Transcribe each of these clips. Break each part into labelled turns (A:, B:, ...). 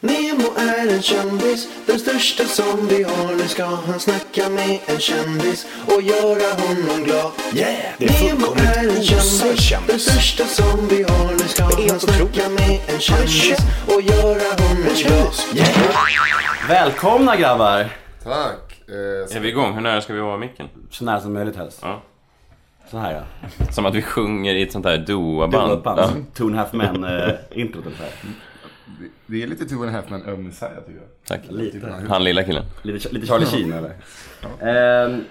A: Nemo är en kändis, den största som vi har. Nu ska han snacka med en kändis och göra honom glad. Yeah!
B: Det är
A: Nemo
B: fullkomligt
A: är en
B: osar
A: kändis,
B: kändis.
A: den största som vi har. Nu ska
B: är
A: han
B: helt otroligt.
A: snacka med en kändis
B: kändis.
A: och göra honom glad. Yeah!
C: Välkomna grabbar!
D: Tack. Eh, så-
E: Är vi igång? Hur nära ska vi vara micken?
C: Så nära som möjligt helst.
E: Ja.
C: Så här ja.
E: Som att vi sjunger i ett sånt här
C: Dubbla
E: Doa-band. Ja.
C: band. Two and a half men eh, introt ungefär.
D: det- Det är lite two and a half men över Messiah tycker jag.
E: Tack.
C: Lite.
E: Han lilla killen.
C: Lite, lite Charlie Sheen eller? Ehm,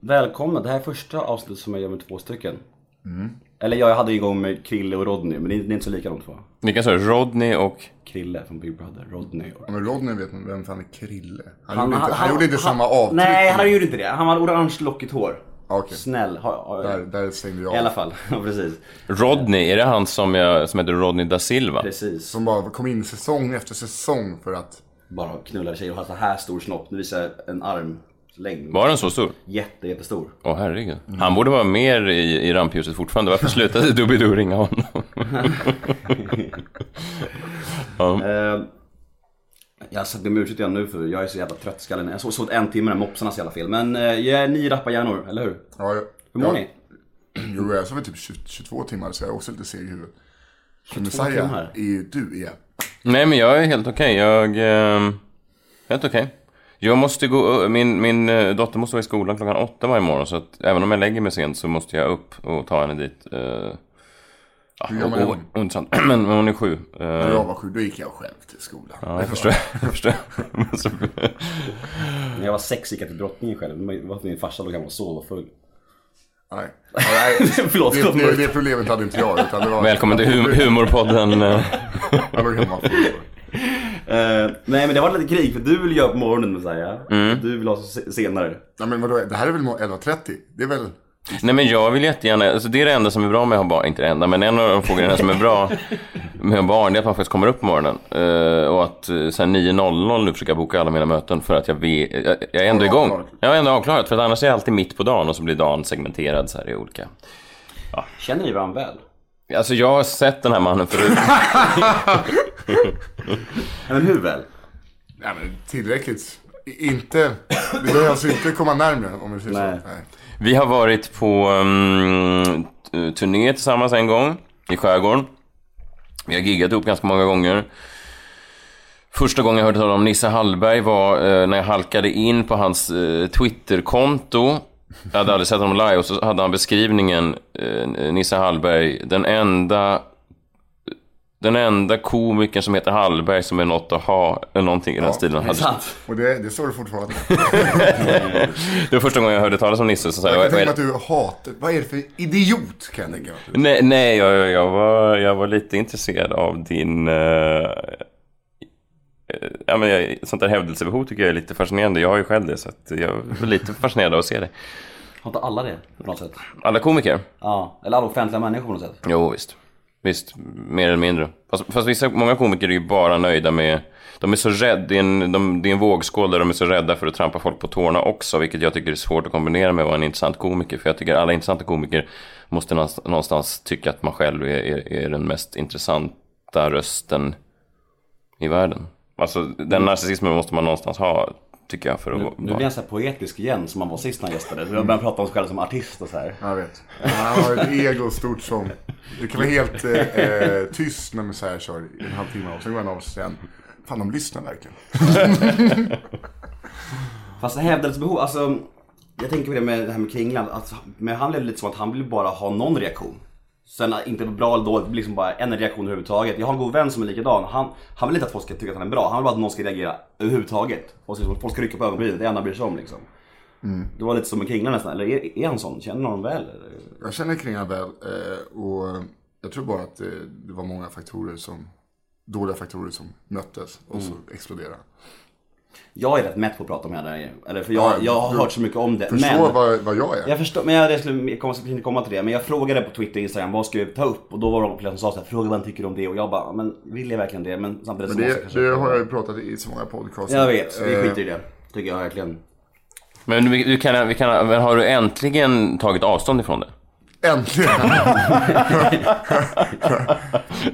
C: välkomna, det här är första avsnittet som jag gör med två stycken.
D: Mm.
C: Eller ja, jag hade igång med Krille och Rodney, men det är, det är inte så lika de två.
E: Vilka sa du? Rodney och...
C: Krille från Big Brother, Rodney och...
D: Ja, men Rodney vet man vem fan är Krille. Han, gjorde inte, han, gjorde inte samma
C: han-
D: avtryck.
C: Nej, han gjorde inte det. Han hade orange lockigt hår.
D: Ja, okej.
C: Snäll. Har, har,
D: Där, där slängde jag
C: I alla
D: av.
C: fall, ja precis.
E: Rodney, är det han som, jag, som heter Rodney da Silva?
C: Precis.
D: Som bara kom in säsong efter säsong för att...
C: Bara knullar tjejer och har så här stor snopp. Nu visar jag en armlängd.
E: Var han så stor?
C: Jätte, jättestor.
E: Åh herregud. Han borde vara mer i, i rampljuset fortfarande. Varför slutade Doobidoo ringa honom?
C: Eh, jag har be om ursäkt igen nu för jag är så jävla trött i skallen. Jag såg, såg en timme den här mopsarnas jävla fel. Men eh, jag är ni rapparhjärnor, eller hur?
D: Ja, jag,
C: Hur mår
D: jag,
C: ni?
D: Jo, jag sov i typ 20, 22 timmar så jag är också lite seg i huvudet. Men
C: timmar?
D: Messiah är ju du är.
E: Nej men jag är helt okej. Jag... Eh, helt okej. Jag måste gå... Min, min eh, dotter måste vara i skolan klockan åtta varje morgon. Så att även om jag lägger mig sent så måste jag upp och ta henne dit. Eh, ja,
D: Hur gammal är
E: och-
D: hon?
E: och- Intressant. men, men hon är sju. Eh,
D: När jag var sju, då gick jag själv till skolan.
E: ja, jag förstår. Jag förstår. Men så-
C: När jag var sex gick jag till drottningen själv. Men Varför min farsa låg hemma och sov och full.
D: Nej. Ja, nej.
C: Förlåt,
D: Det,
C: det,
D: det, det problemet hade inte jag. Utan det var,
E: Välkommen till hum- humorpodden. eh.
D: Jag låg hemma och förlorade.
C: Eh, Nej men det var lite krig för du vill göra på morgonen Messiah. Du vill ha så se- senare.
D: Ja, men vadå, det här är väl 11.30? Det är väl...
E: Nej men jag vill jättegärna, alltså det är det enda som är bra med att ha barn, inte det enda men en av de frågorna som är bra med att ha barn det är att man faktiskt kommer upp på morgonen. Eh, och att uh, sen 9.00 nu försöker jag boka alla mina möten för att jag vet, jag, jag är ändå
D: Har du
E: igång.
D: avklarat?
E: Jag är ändå avklarat för att annars är jag alltid mitt på dagen och så blir dagen segmenterad så här i olika.
C: Känner ni varandra väl?
E: Alltså jag har sett den här mannen förut.
C: Nej men hur väl?
D: Nej, men tillräckligt. I- Inte... Det behöver alltså inte komma närmare om vi säger
C: Nej.
D: så. Nej.
E: Vi har varit på mm, t- turné tillsammans en gång i skärgården. Vi har giggat ihop ganska många gånger. Första gången jag hörde talas om Nisse Hallberg var eh, när jag halkade in på hans eh, Twitterkonto. Jag hade aldrig sett honom live och så hade han beskrivningen eh, Nisse Hallberg, den enda den enda komikern som heter Hallberg som är något att ha, eller någonting i den stilen. Han
C: Det är
E: hade-
C: sant.
D: Och det, det står det fortfarande.
E: Det var första gången jag hörde talas om Nisse. Så sa jag,
D: Jag
E: "Vad- vad är
D: tänker
E: det-
D: att du hatar... Vad är det för idiot kan jag tänka mig.
E: Nej, nej jag, jag- jag, var, jag var lite intresserad av din... eh, eh, ja, men jag, sånt där hävdelsebehov tycker jag är lite fascinerande. Jag har ju själv det, så att jag var lite fascinerad av att se det.
C: Har inte alla det på något sätt?
E: Alla komiker?
C: Ja, eller alla offentliga människor på något sätt.
E: Jo, visst. Visst, mer eller mindre. Fast, fast vissa, många komiker är ju bara nöjda med... De är så rädda, det är, en, de, det är en vågskål där de är så rädda för att trampa folk på tårna också, vilket jag tycker är svårt att kombinera med att vara en intressant komiker. För jag tycker alla intressanta komiker måste någonstans, någonstans tycka att man själv är, är, är den mest intressanta rösten i världen. Alltså den narcissismen måste man någonstans ha, tycker jag, för att
C: Mm. Nu
E: vara...
C: blir jag så här poetisk igen som man var sist när jag gästade. Jag började prata om sig själv som artist och så här.
D: Jag vet. Han har ett ego stort som... Det kan vara helt eh, eh, tyst när Messiah kör i en halvtimme och sen går han av sig sen. Fan, de lyssnar verkligen.
C: Fast hävdelsebehov, alltså jag tänker på det med det här med Kringland, alltså, men han blev lite som att han ville bara ha någon reaktion. Sen inte bra eller dåligt, liksom bara en reaktion överhuvudtaget. Jag har en god vän som är likadan, han, han vill inte att folk ska tycka att han är bra, han vill bara att någon ska reagera överhuvudtaget. Och så, liksom, folk ska rycka på ögonbrynen, det är det enda han bryr sig om liksom.
D: Mm.
C: Det var lite som med Kringland nästan, eller är, är han sån? Känner någon väl? eller?
D: Jag känner kring han väl eh, och jag tror bara att eh, det var många faktorer som... Dåliga faktorer som möttes och
E: Mm.
D: så exploderade.
C: Jag är rätt mätt på att prata om henne, eller för jag, jag har
D: du-
C: hört så mycket om det.
D: Förstå
C: men...
D: vad, vad jag är.
C: Jag förstår, men jag, jag skulle jag kommer säkert inte komma till det. Men jag frågade på Twitter och Instagram, vad ska vi ta upp? Och då var de flera som sa såhär, fråga vad han tycker om det. Och jag bara, men vill jag verkligen det? Men samtidigt
D: Men
C: så måste jag
D: det,
C: kanske-
D: det har jag ju pratat i så många podcasts.
C: Jag vet, så vi
D: Eh,
C: skiter i det. Tycker jag verkligen.
E: Men, vi, vi kan, vi kan, men har du äntligen tagit avstånd ifrån det?
D: Äntligen.
E: Mm.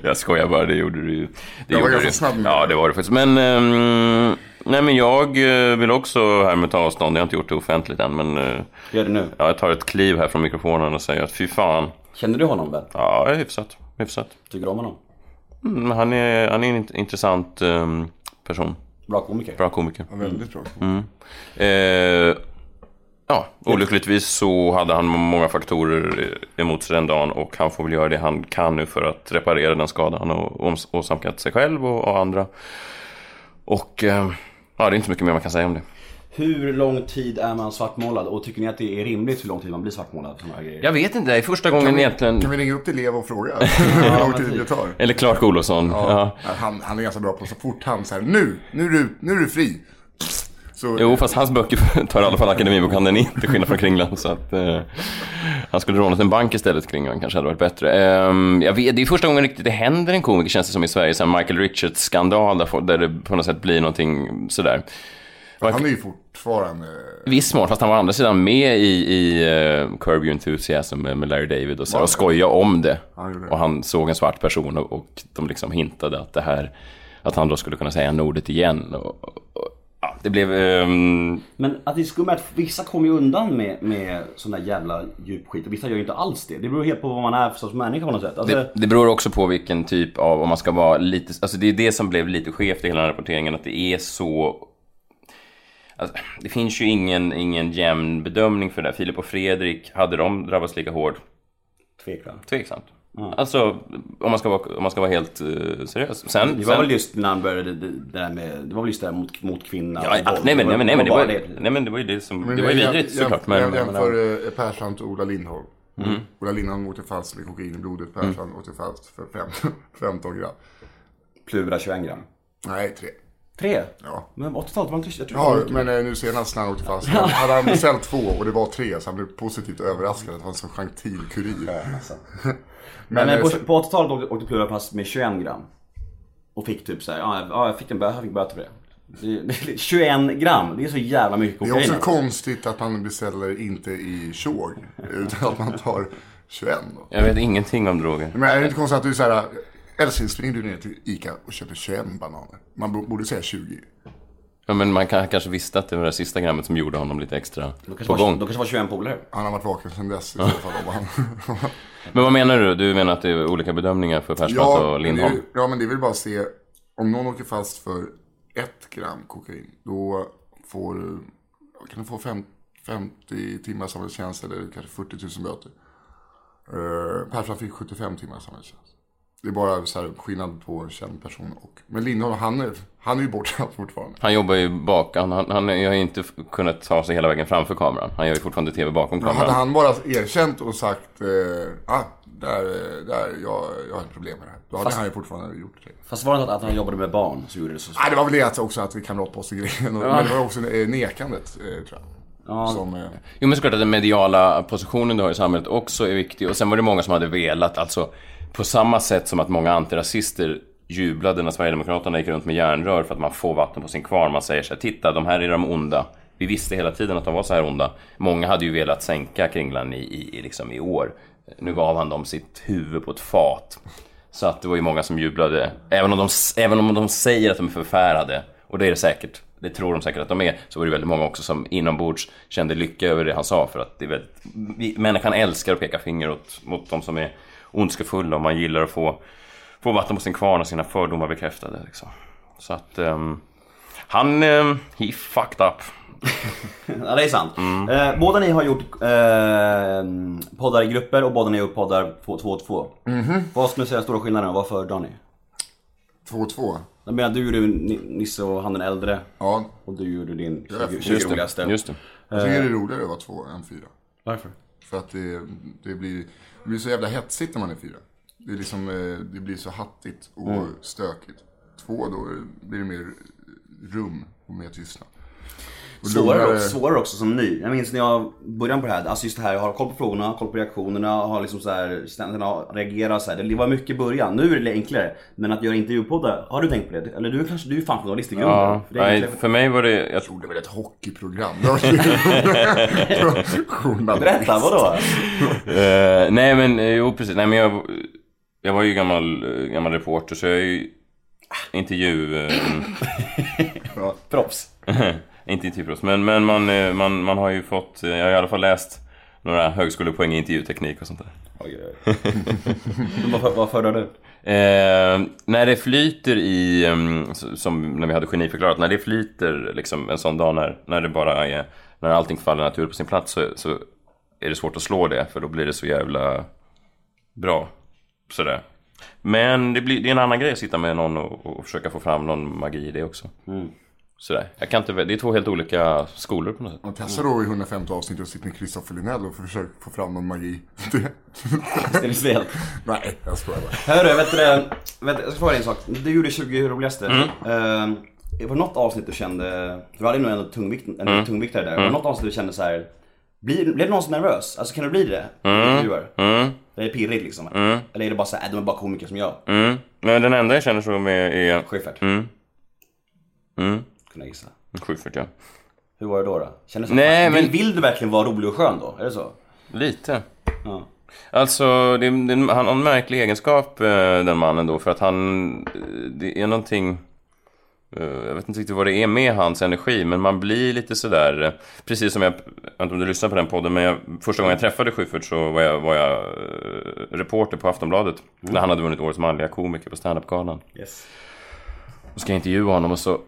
E: Jag skojar bara, det gjorde du ju. Det
D: Jag var
E: gjorde
D: ganska
E: du.
D: snabb med det.
E: Ja, det var det faktiskt. Men, ehm, nej, men jag eh, vill också härmed ta avstånd. Jag har inte gjort det offentligt än, men eh,
C: Gör det nu.
E: ja, jag tar ett kliv här från mikrofonen och säger att fy fan.
C: Känner du honom väl?
E: Ja, hyfsat. hyfsat.
C: Tycker du om honom?
E: Mm, han, är, han är en int- intressant ehm, person.
C: Bra komiker.
E: Bra komiker.
D: Väldigt bra.
E: Eh, ja, olyckligtvis så hade han många faktorer emot sig den dagen och han får väl göra det han kan nu för att reparera den skada han har ås- åsamkat sig själv och, och andra. Och eh, ja, det är inte mycket mer man kan säga om det.
C: Hur lång tid är man svartmålad? Och tycker ni att det är rimligt hur lång tid man blir svartmålad? Såna här grejer?
E: Jag vet inte, det är första gången egentligen.
D: Kan vi ringa upp till Leo och fråga hur lång tid det tar?
E: Eller Clark Olofsson. Ja.
D: Han, han är ganska bra på så fort han så här, nu, nu är du, nu är du fri. Så, eh,
E: Jo, fast hans böcker tar i alla fall Akademibokhandeln in, till skillnad från Kringlan. Så att, eh, han skulle rånat en bank istället, Kringlan kanske hade varit bättre. Ehm, jag vet, det är första gången riktigt det händer en komiker, känns det som, i Sverige. Sen Michael Richards-skandal, där, folk- där det på något sätt blir någonting sådär.
D: han är ju fortfarande
E: Viss mån, fast han var å andra sidan med i, i eh, Curb Your Enthusiasm med, med Larry David och, så, här, och skojade om det.
D: han gjorde det.
E: och han såg en svart person och, och de liksom hintade att det här, att han då skulle kunna säga ordet igen. Och, och, och, ja, det blev... ehm,
C: Men att det är skumt är att vissa kommer ju undan med, med sån där jävla djup skit och vissa gör ju inte alls det. Det beror helt på vad man är för sorts människa på något sätt. Alltså,
E: Det, det beror också på vilken typ av, om man ska vara lite, alltså det är det som blev lite skevt i hela den här rapporteringen, att det är så... Alltså, det finns ju ingen, ingen jämn bedömning för det här. Filip och Fredrik, hade de drabbats lika hårt?
C: tvekar.
E: Tveksamt. Alltså, om man ska vara, om man ska vara helt eh, seriös. Sen,
C: Det var
E: sen,
C: väl just när han började det, det där med, det var väl just det där mot, mot kvinna
E: Ja,
C: och
E: ja,
C: våld.
E: nej, men, nej, men, nej, men, det var,
C: bara
E: nej men det var ju det som,
D: Men
E: det var ju
D: jag-
E: vidrigt
D: jag-
E: såklart.
D: Jag,
E: Men,
D: jag
E: men, Mm.
D: jämför eh, Persbrandt och Ola Lindholm. Ola Lindholm åkte fast med kokain i blodet. Persbrandt åkte fast för fem- 15 gram.
C: Plura 21 gram.
D: Nej, tre.
C: Tre?
D: Ja.
C: Men 80-talet var inte jag tror
D: Ja,
C: det var
D: men eh, nu senast när han åkte fast han hade han beställt två och det var tre så han blev positivt överraskad att han som gentilkurir.
C: alltså.
D: Men,
C: Nej,
D: eh,
C: men
D: så-
C: på, på 80-talet åkte, åkte Plura fast med 21 gram. Och fick typ såhär, ja, ja jag fick en bö- jag fick böter för det. Det är- det är 21 gram, det är så jävla mycket
D: det
C: kokain.
D: är också
C: alltså.
D: konstigt att man beställer inte i tjog utan att man tar 21. Då.
E: jag vet ingenting om droger.
D: Men är det inte konstigt att du är så här, älskling springer du ner till ICA och köper 21 bananer? Man bo- borde säga 20.
E: Ja, men man kan, kanske visste att det var det sista grammet som gjorde honom lite extra
C: De
E: på
C: kanske, var,
E: gång.
C: de kanske var 21 polare.
D: Han har varit vaken sedan dess i så fall. om han-
E: Men vad menar du? Du menar att det är olika bedömningar för Persbrandt och
D: men det är
E: Alltså Lindholm?
D: ju- ja, men det är väl bara att se. Om någon åker fast för ett gram kokain, då får du, kan du få fem, 50 timmar samhällstjänst eller kanske 40 000 böter. Uh, Persson fick 75 timmar samhällstjänst. Det är bara så här skillnad på känd person och... Men Lindholm, han är, han är ju borta fortfarande.
E: Han jobbar ju bak. Han, han, han har ju inte f- kunnat ta sig hela vägen framför kameran. Han gör ju fortfarande tv bakom kameran.
D: Hade han bara erkänt och sagt eh, ah, där, eh, där, jag, jag har ett problem med det här. Då hade han ju fortfarande gjort det.
C: Fast var det inte att han jobbade med barn så gjorde det så
D: Nej, Ah, det var väl det att- också att vi kamratpostar grejen. och- Men det var också eh, nekandet, eh, tror jag. Som, eh,
E: Jo men såklart att den mediala positionen du har i samhället också är viktig. Och sen var det många som hade velat, alltså på samma sätt som att många antirasister jublade när Sverigedemokraterna gick runt med järnrör för att man får vatten på sin kvarn. Man säger så här, titta de här är de onda. Vi visste hela tiden att de var så här onda. Många hade ju velat sänka Kringlan i, i, i, liksom i år. Nu gav han dem sitt huvud på ett fat. Så att det var ju många som jublade. Även om de, även om de säger att de är förfärade, och det är det säkert, det tror de säkert att de är, så var det väldigt många också som inombords kände lycka över det han sa. För att det är väldigt, vi, människan älskar att peka finger åt, mot de som är ondskefulla och man gillar att få, få vatten på sin kvarn och sina fördomar bekräftade. Liksom. Så att ehm, han, um, he fucked up.
C: Ja det är sant. Eh, båda ni har gjort eh, poddar i grupper och båda ni har gjort poddar på två och två. Vad skulle ni säga är stora skillnaden och vad föredrar ni?
D: 2-2.
C: Jag menar du gjorde Ni- Nisse och han den äldre
D: Ja,
C: och du gjorde din
D: Ja, just
C: 20 roligaste.
E: Just det.
D: jag
C: Eh.
D: tycker det är roligare att vara 2 än 4.
C: Varför?
D: För att det, det, blir, det blir så jävla hetsigt när man är 4. Det, är liksom, eh, det blir så hattigt och
C: Mm.
D: stökigt. 2 då blir det mer rum och mer tystnad.
C: Svårare,
D: lugnare.
C: också, svårare också som ny. Jag minns när jag började på det här, alltså just det här, jag har koll på frågorna, koll på reaktionerna, har liksom så här, ständigt reagerar så här. Det var mycket i början, nu är det enklare. Men att göra intervjupoddar, har du tänkt på det? Eller du är kanske, du är fan journalist i grunden.
E: Ja,
C: För det är
E: nej,
C: egentligen-
E: för mig var det... Jag,
D: Jo, det var ett hockeyprogram. Det var- Journalist.
C: Berätta, vadå?
E: Eh, nej men eh, jo precis, nej men jag, jag var ju gammal, eh, gammal reporter så jag är ju intervju... Eh,
C: Proffs.
E: inte intervjuproffs, men, men man, eh, man, man har ju fått, eh, jag har i alla fall läst några högskolepoäng i intervjuteknik och sånt där.
C: Oj, oj, oj. Men vad, vad föredrar du?
E: Eh, när det flyter i, ehm, s- som när vi hade geniförklarat, när det flyter liksom en sån dag när, när det bara är, när allting faller naturligt på sin plats så, så är det svårt att slå det för då blir det så jävla bra. Sådär. Men det, blir, det är en annan grej att sitta med någon och, och försöka få fram någon magi i det också. Sådär. Jag kan inte, vä- det är två helt olika skolor på något sätt.
D: Man testar då i 150 avsnitt och sitter med Kristoffer Linell och försöker få fram någon magi. Det-
C: Det är stelt.
D: Nej, jag skojar bara.
C: Hörru, vet du, det- vet, jag ska fråga dig en sak. Du gjorde 20 roligaste. Mm. var det något avsnitt du kände, du hade nog ändå tungvikt, en
E: Mm.
C: tungviktare där. Var det något avsnitt du kände så här. Blir, blev du någonsin nervös? Alltså kan du bli det? Mm.
E: Mm,
C: Det är pirrigt liksom. Eller är det bara så här, äh, de är bara komiker som jag?
E: mm. Nej, den enda jag känner så med är...
C: Schyffert,
E: Mm. Mm.
C: kunde jag gissa.
E: Schyffert ja.
C: Hur var det då? då? Kändes det
E: Nej,
C: vill,
E: men-
C: vill du verkligen vara rolig och skön då? Är det så?
E: Lite.
C: Ja.
E: Alltså, det, det, han har en märklig egenskap, eh, den mannen då, för att han... eh, Det är någonting... eh, Jag vet inte riktigt vad det är med hans energi, men man blir lite sådär... eh, Precis som jag... Jag vet inte om du lyssnar på den podden, men jag, första gången jag träffade Schyffert så var jag, var jag eh, reporter på Aftonbladet. När han hade vunnit Årets manliga komiker på standup-galan.
C: Yes.
E: Och ska jag intervjua honom och så...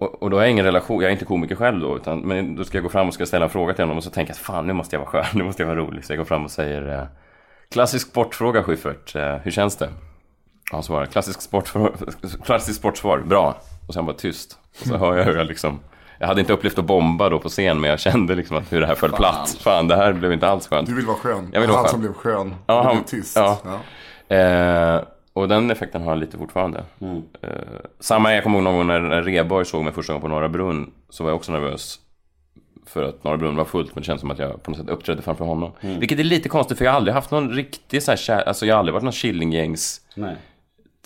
E: Och, och då har jag ingen relation, jag är inte komiker själv då, utan, men då ska jag gå fram och ska ställa en fråga till honom och så tänker jag att fan nu måste jag vara skön, nu måste jag vara rolig. Så jag går fram och säger eh, Klassisk sportfråga Schyffert, eh, hur känns det? Och han svarar klassisk, sportfrå- klassisk sportsvar, bra. Och sen bara tyst. Och så hör jag hur jag liksom... Jag hade inte upplevt att bomba då på scen, men jag kände liksom att hur det här föll platt. Fan, det här blev inte alls skönt.
D: Du vill vara skön.
E: Jag vill vara
D: han
E: skön.
D: som blev skön. Ja,
E: Ja, han-
D: han... blev tyst.
E: ja.
D: Ja.
E: Eh, och den effekten har han lite fortfarande. Eh, samma, jag kommer ihåg någon gång när, när Reborg såg mig första gången på Norra Brunn. Så var jag också nervös. För att Norra Brunn var fullt, men det känns som att jag på något sätt uppträdde framför honom. Vilket är lite konstigt, för jag har aldrig haft någon riktig så här, kär- alltså jag har aldrig varit någon Killinggängs...
C: Nej.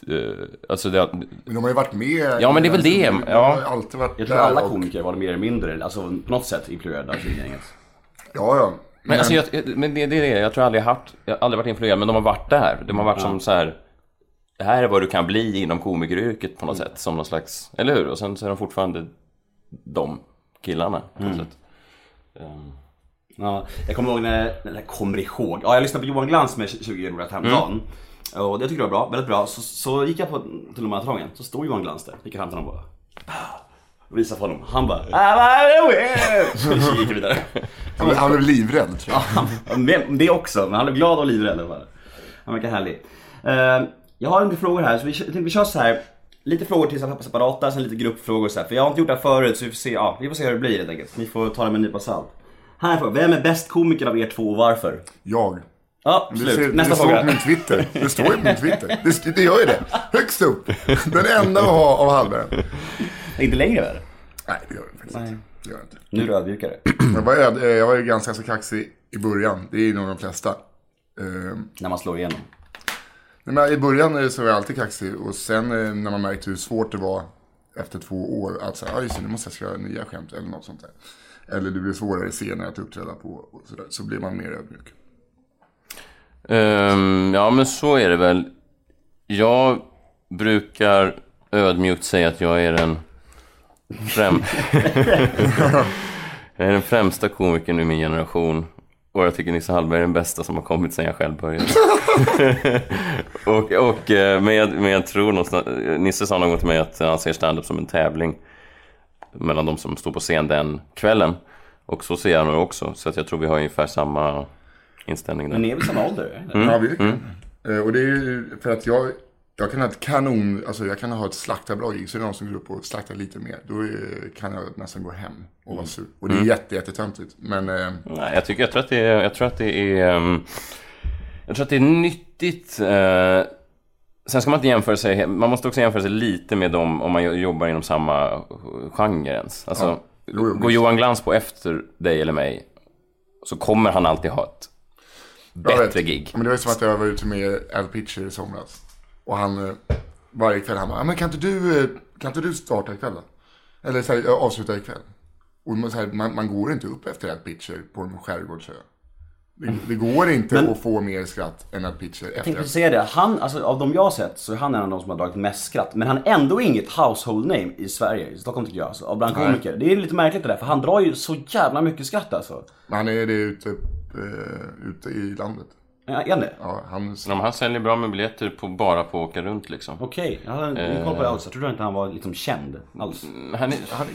E: Eh, alltså det,
D: Men de har ju varit med.
E: Ja, men det är väl det,
D: De
E: ja.
D: har ju alltid varit
C: Jag tror
D: där
C: alla
D: och-
C: komiker var mer eller mindre, alltså på något sätt influerade av Killinggänget.
D: Ja, ja.
E: men alltså jag, men det, det är det, jag tror aldrig jag haft, jag har aldrig varit influerad, men de har varit där. De har varit som så här. Det här är vad du kan bli inom komikeryrket på något sätt, som någon slags, eller hur? Och sen så är de fortfarande de killarna på något sätt.
C: Ja, jag kommer ihåg när, eller jag kommer ihåg, ja jag lyssnade på Johan Glans med 20 roliga häromdagen. Och det tyckte jag var bra, väldigt bra. Så, så gick jag på tunnelbanetrången, så stod Johan Glans där. Gick jag fram till honom och bara "Ah." och visade på honom. Han bara "Ah, vad är det?" Så gick jag vidare.
D: Han, blev- han blev livrädd tror jag.
C: Ja, men Det också, men han blev glad och livrädd i alla fall. Han verkar härlig. Eh, Jag har lite frågor här, så vi, kö- jag tänkte vi kör så här. Lite frågor till separata, sen lite gruppfrågor så här. För jag har inte gjort det här förut så vi får se, ja, vi får se hur det blir helt enkelt. Ni får ta det med en nypa salt. Här är en fråga, vem är bäst komiker av er två och varför?
D: Jag.
C: Ja,
D: Det,
C: slut.
D: ser,
C: Nästa
D: det står på
C: fråga.
D: min Twitter. Det står ju på min Twitter. Det, st- det gör ju det. Högst upp. Den enda jag har av Hallberg.
C: Inte längre väl?
D: Nej, det gör det faktiskt inte. Det gör det inte.
C: Nu är du ödmjukare.
D: Jag var, öd- eh, jag var ju ganska så kaxig i början. Det är ju nog de flesta. Ehm,
C: När man slår igenom.
D: Nej, men I början eh, så var jag alltid kaxig och sen eh, när man märkte hur svårt det var efter två år att säga, ja just det, nu måste jag skriva nya skämt eller något sånt där. Eller det blir svårare senare att uppträda på och sådär. Så blir man mer ödmjuk.
E: Ehm, ja, men så är det väl. Jag brukar ödmjukt säga att jag är den, främ... jag är den främsta komikern i min generation. Och jag tycker Nisse Hallberg är den bästa som har kommit sen jag själv började. och, och, eh, men, jag, men jag tror någonstans... Nisse sa någon gång till mig att han ser stand-up som en tävling mellan de som står på scen den kvällen. Och så ser jag nog också. Så att jag tror vi har ungefär samma inställning där.
C: Men ni är väl samma ålder? eller?
D: Ja, verkligen. Eh, Och det är ju för att jag, jag kan ha ett kanon, alltså jag kan ha ett slaktarbra gig. Så är det någon som går upp och slaktar lite mer. Då eh, kan jag nästan gå hem och vara sur. Och det är jätte, jättetöntigt. Men eh,
E: Nej, jag, tycker, jag, tror att det är, jag tror att det är... ehm, Jag tror att det är nyttigt. eh, Sen ska man inte jämföra sig... Man måste också jämföra sig lite med dem om man jo- jobbar inom samma genre ens. Alltså,
D: Jo, jo,
E: Går Johan Glans på efter dig eller mig så kommer han alltid ha ett
D: Jag vet.
E: bättre gig.
D: Men det var ju som att jag var ute med Al Pitcher i somras. Och han, eh, varje kväll, han bara, "Ja, men kan inte du, eh, kan inte du starta ikväll då? Eller så här, "Ja, avsluta ikväll. Och man, så här, man, man går inte upp efter Al Pitcher på en skärgårdsö. Det, det går inte
C: Mm. Men-
D: att få mer skratt än Al Pitcher
C: Jag
D: efter
C: tänkte
D: Al
C: precis säga det. Han, alltså, av de jag har sett så är han en av de som har dragit mest skratt. Men han är ändå inget household name i Sverige, i Stockholm tycker jag. Alltså, av bland komiker. Det är lite märkligt det där för han drar ju så jävla mycket skratt alltså.
D: Men han är det ute, eh, ute i landet.
C: Ja, Är han det?
D: Ja, han,
E: Men han säljer bra med biljetter på, bara på att åka runt liksom.
C: Okej, jag hade ingen koll på det alls. Jag trodde inte han var liksom känd alls.
E: Han är,
D: han,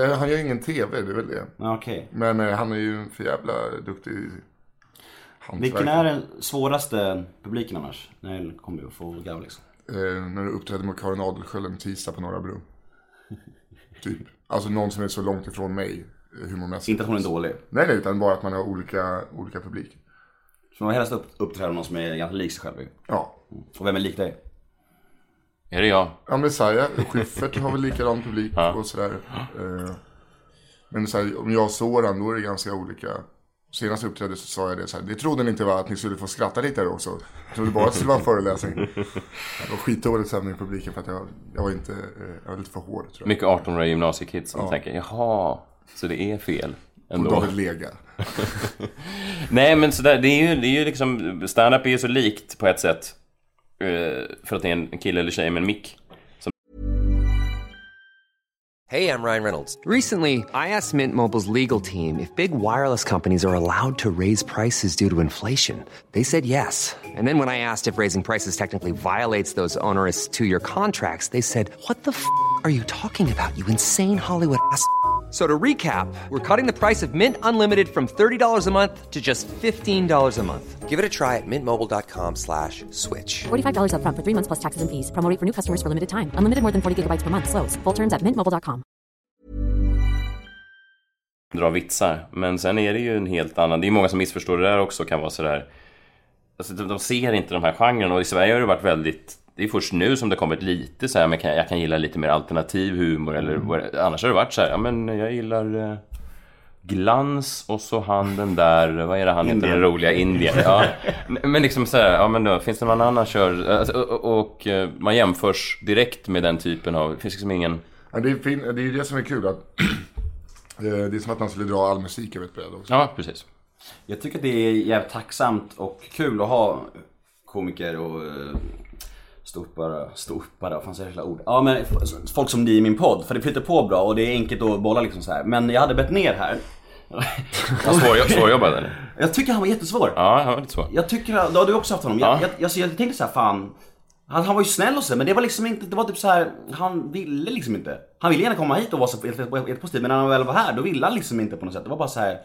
D: är, han gör ingen tv, det är väl det.
C: Ja, Okej.
D: Men eh, han är ju en för jävla duktig
C: Vilken
D: hantverkare.
C: är den svåraste publiken annars? När den kommer att få garv liksom.
D: eh, när du uppträdde med Karin Adelsköld en tisdag på Norra Bro. Typ. Alltså någon som är så långt ifrån mig eh, humormässigt.
C: Inte att hon är dålig.
D: Nej, nej, utan bara att man har olika, olika publik.
C: Så man vill helst upp- uppträda med någon som är ganska lik sig själv ju.
D: Ja.
C: Och vem är lik dig?
E: är det jag?
D: Ja, men Saja, Schyffert har väl likadan publik och sådär. Eh, men så här, om jag sår han, då är det ganska olika. Senast jag uppträdde så sa jag det så här, det trodde ni inte va, att ni skulle få skratta lite här också. Jag trodde bara att det skulle vara en föreläsning. Det var skitdåligt stämning i publiken för att jag, jag var inte, eh, jag var lite för hård tror jag.
E: Mycket 18-åriga gymnasiekids som tänker jaha, så det är fel ändå.
D: David Lega.
E: Nej men sådär, det är ju, det är ju liksom, stand-up är ju så likt på ett sätt. eh, För att det är en kille eller tjej med en mick.
B: Hey, I'm Ryan Reynolds. Recently, I asked Mint Mobile's legal team if big wireless companies are allowed to raise prices due to inflation. They said yes. And then when I asked if raising prices technically violates those onerous two year contracts, they said, What the f are you talking about, you insane Hollywood ass? f- So to recap, we're cutting the price of Mint Unlimited from $30 a month to just $15 a month. Give it a try at mintmobile.com slash switch.
F: $45 upfront for three months plus taxes and fees. Promo rate for new customers for limited time. Unlimited more than 40 gigabytes per month. Slows. Full terms at mintmobile.com.
E: dra vitsar. Men sen är det ju en helt annan. Det är många som missförstår det där också kan vara sådär. Alltså, de, de ser inte de här genrerna och i Sverige har det varit väldigt det är först nu som det kommit lite så här, men kan, jag kan gilla lite mer alternativ humor eller vad- annars har det varit så här, ja men jag gillar eh, glans och så han den där, vad är det han heter, den roliga Indien. Ja. Men liksom så här, ja men då, finns det någon annan kör, alltså, och, och eh, man jämförs direkt med den typen av, det finns liksom ingen,
D: Ja, det, är fin, det är ju det som är kul. Att, eh, det är som att man skulle dra all musik över ett bräde också.
E: ja precis.
C: Jag tycker att det är jävligt tacksamt och kul att ha komiker och eh, ståuppare, ståuppare, vad fan säger jag hela ord? Ja men f- folk som ni i min podd, för det flyter på bra och det är enkelt att bolla liksom så här. Men jag hade bett ner här.
E: Svår, svårjobbad eller?
C: Jag tycker han var jättesvår.
E: Ja, han var lite svår.
C: Jag tycker, då har du också haft honom. Jag, jag, jag, jag tänkte så här, fan. Han, han var ju snäll och så, men det var liksom inte, det var typ så här, han ville liksom inte. Han ville gärna komma hit och vara så helt, helt, helt positiv, men när han väl var här då ville han liksom inte på något sätt. Det var bara så här.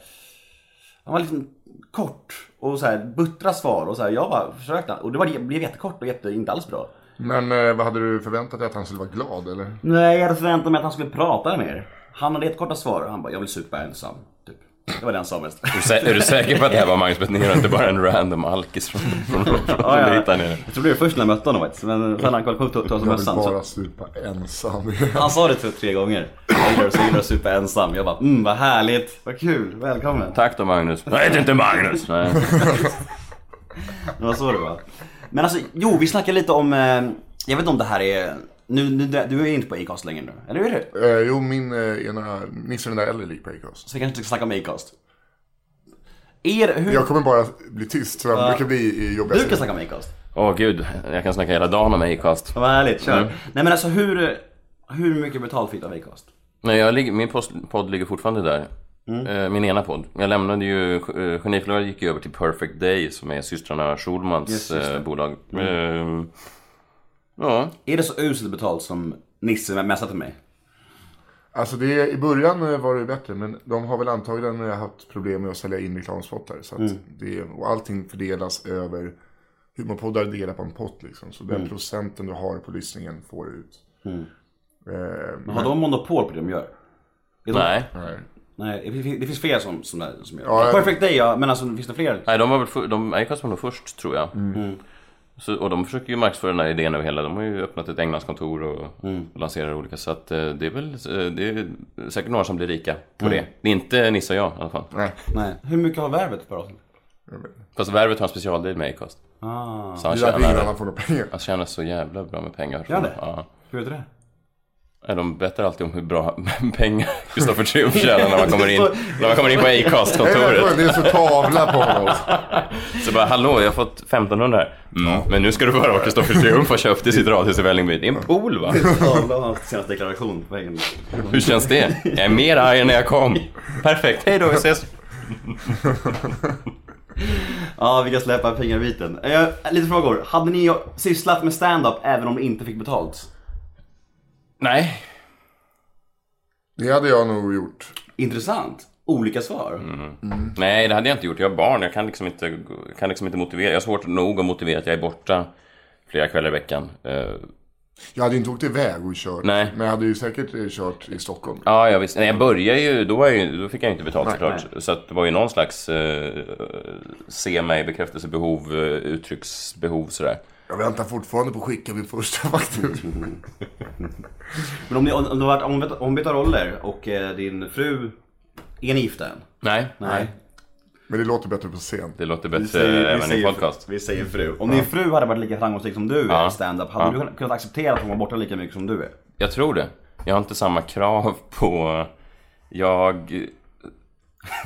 C: Han var liksom kort och så här buttra svar och så här, jag bara försökte. Och det var, det blev jättekort och jätte, inte alls bra.
D: Men eh, vad hade du förväntat dig? Att han skulle vara glad eller?
C: Nej, jag hade förväntat mig att han skulle prata mer. Han hade jättekorta svar och han bara, jag vill supa ensam. Typ. Det var den sa mest.
E: Sä- Är du säker på att det här var Magnus Betnér och inte bara en random alkis från, från, från, från
C: Ja, ja.
E: du hittade ner?
C: Jag trodde det var först när jag mötte honom faktiskt, men sen när han kollade upp tog
D: Jag vill
C: mössan. så-
D: bara supa ensam.
C: Han sa det typ tre gånger. Jag gillar, så gillar jag super ensam. Jag bara mm vad härligt, vad kul, välkommen.
E: Tack då Magnus. Nej, det är inte Magnus! Nej.
C: Det var så det var. Men alltså, jo vi snackade lite om, eh, jag vet inte om det här är, nu, nu du är ju inte på Acast längre nu, eller hur är det?
D: eh, jo, min eh, ena, Nisse den där äldre gick på Acast.
C: Så vi kanske inte ska snacka om Acast. Er, hur,
D: Jag kommer bara bli tyst, för jag brukar bli i jobbiga
C: du kan
D: situationer.
C: snacka om Acast.
E: Åh gud, jag kan snacka hela dagen om Acast.
C: Vad härligt, kör.
D: Mm.
C: Nej men alltså hur, hur mycket betalt fick du av Acast?
E: Nej, jag ligger, min post, podd ligger fortfarande där. Eh, Min ena podd. Jag lämnade ju, eh, Geniförlorare gick ju över till Perfect Day som är systrarna Schulmans eh, bolag. Eh, Ja,
C: Är det så uselt betalt som Nisse messade till mig?
D: Alltså det, i början eh, var det bättre, men de har väl antagligen eh, haft problem med att sälja in reklamspottar. Så att det, och allting fördelas över, humorpoddar delar på en pott liksom. Så den procenten du har på lyssningen får du ut. Eh,
C: Har de monopol på det de gör? Är de-
E: nej.
D: nej.
C: Nej, det finns- det finns fler som, som, som gör det.
D: Ja, jag-
C: Perfect Day ja, men alltså finns det fler?
D: Mm.
C: Mm.
E: Nej, de var väl för, de, Acast var nog först tror jag. Så, och de försöker ju marknadsföra den här idén över hela. De har ju öppnat ett Englandskontor och
C: Mm.
E: lanserar olika. Så att eh, det är väl eh, det är säkert några som blir rika på
C: Mm.
E: det. Det är inte Nisse och jag i alla fall.
D: Nej,
C: Nej. Hur mycket har värvet per avsnitt?
D: jag vet inte.
E: Fast Värvet har en specialdeal med Acast.
C: Ah.
E: Så han
D: Det är därför ingen
E: tjänar,
D: annan får några pengar.
E: han tjänar så jävla bra med pengar.
C: Gör han det?
E: Ja.
C: Hur vet du det?
E: Ja, De berättar alltid om hur bra pengar Kristoffer Triumf tjänar när man kommer in, när man kommer in på
D: Nej, nej,
E: Acast-kontoret.
D: Det är så tavla på honom.
E: Så bara, hallå, jag har fått 1500 här. Mm. Men nu ska du få höra vad Kristoffer Triumf har köpt i sitt radhus i Vällingby. Det är en pool va?
C: Tavla hans senaste deklaration på vägen.
E: Hur känns det? Jag är mer arg än när jag kom. Perfekt, hej då, vi ses.
C: Ja, vi kan släppa pengabiten. Eh, lite frågor. Hade ni sysslat med stand-up även om ni inte fick betalt?
E: Nej,
D: Det hade jag nog gjort.
C: Intressant. Olika svar.
E: Mm. nej det hade jag inte gjort. Jag har barn, jag kan liksom inte, jag kan liksom inte motivera. Jag har svårt nog att motivera att jag är borta flera kvällar i veckan. Eh,
D: Jag hade inte åkt iväg och kört.
E: Nej.
D: Men jag hade ju säkert eh, kört i Stockholm.
E: Ja, jag visst. Nej, jag började ju, då, var jag, ju- då fick jag ju inte betalt såklart. Så att det var ju någon slags eh, se mig, bekräftelsebehov, eh, uttrycksbehov sådär.
D: Jag väntar fortfarande på att skicka min första faktura.
C: Men om, ni, om om det varit ombytta, ombytta roller och eh, din fru... Är ni gifta än?
E: Nej,
D: Men det låter bättre på scen.
E: Det
C: Vi
E: låter bättre
C: säger- vi
E: även i
C: säger-
E: podcast.
C: Vi säger fru. Om din fru hade varit lika framgångsrik som du är i stand-up, hade du kunnat acceptera att hon var borta lika mycket som du är?
E: Jag tror det. Jag har inte samma krav på... Jag...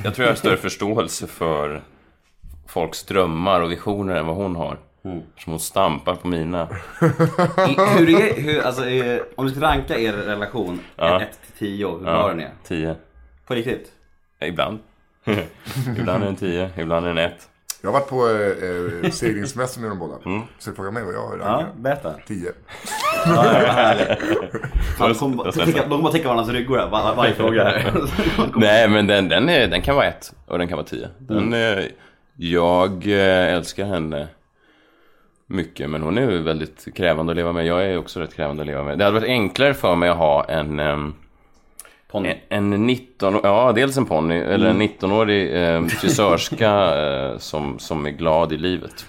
E: Jag tror jag har större förståelse för folks drömmar och visioner än vad hon har. Som hon stampar på mina.
C: I- hur är, hur, alltså, eh, om du ska ranka er relation,
E: Ja.
C: 1 till 10, hur bra den är?
E: Tio.
C: På riktigt?
E: Ibland. ibland är den tio, ibland är den ett.
D: Jag har varit på eh, eh, seglingsmässan med de båda. Så fråga mig vad jag har
C: Ja,
D: rankat.
C: berätta.
D: 10.
C: Han kom,
E: Jag
C: Alltså, de kommer bara täcka varandras ryggor här, var, varje fråga här.
E: Nej, men den, den, är, den kan vara ett och den kan vara tio. Den, eh, Jag eh, älskar henne mycket, men hon är ju väldigt krävande att leva med. Jag är också rätt krävande att leva med. Det hade varit enklare för mig att ha en... ehm,
C: Ponny.
E: En 19 ja dels en ponny, eller en 19-årig eh, frisörska eh, som, som är glad i livet.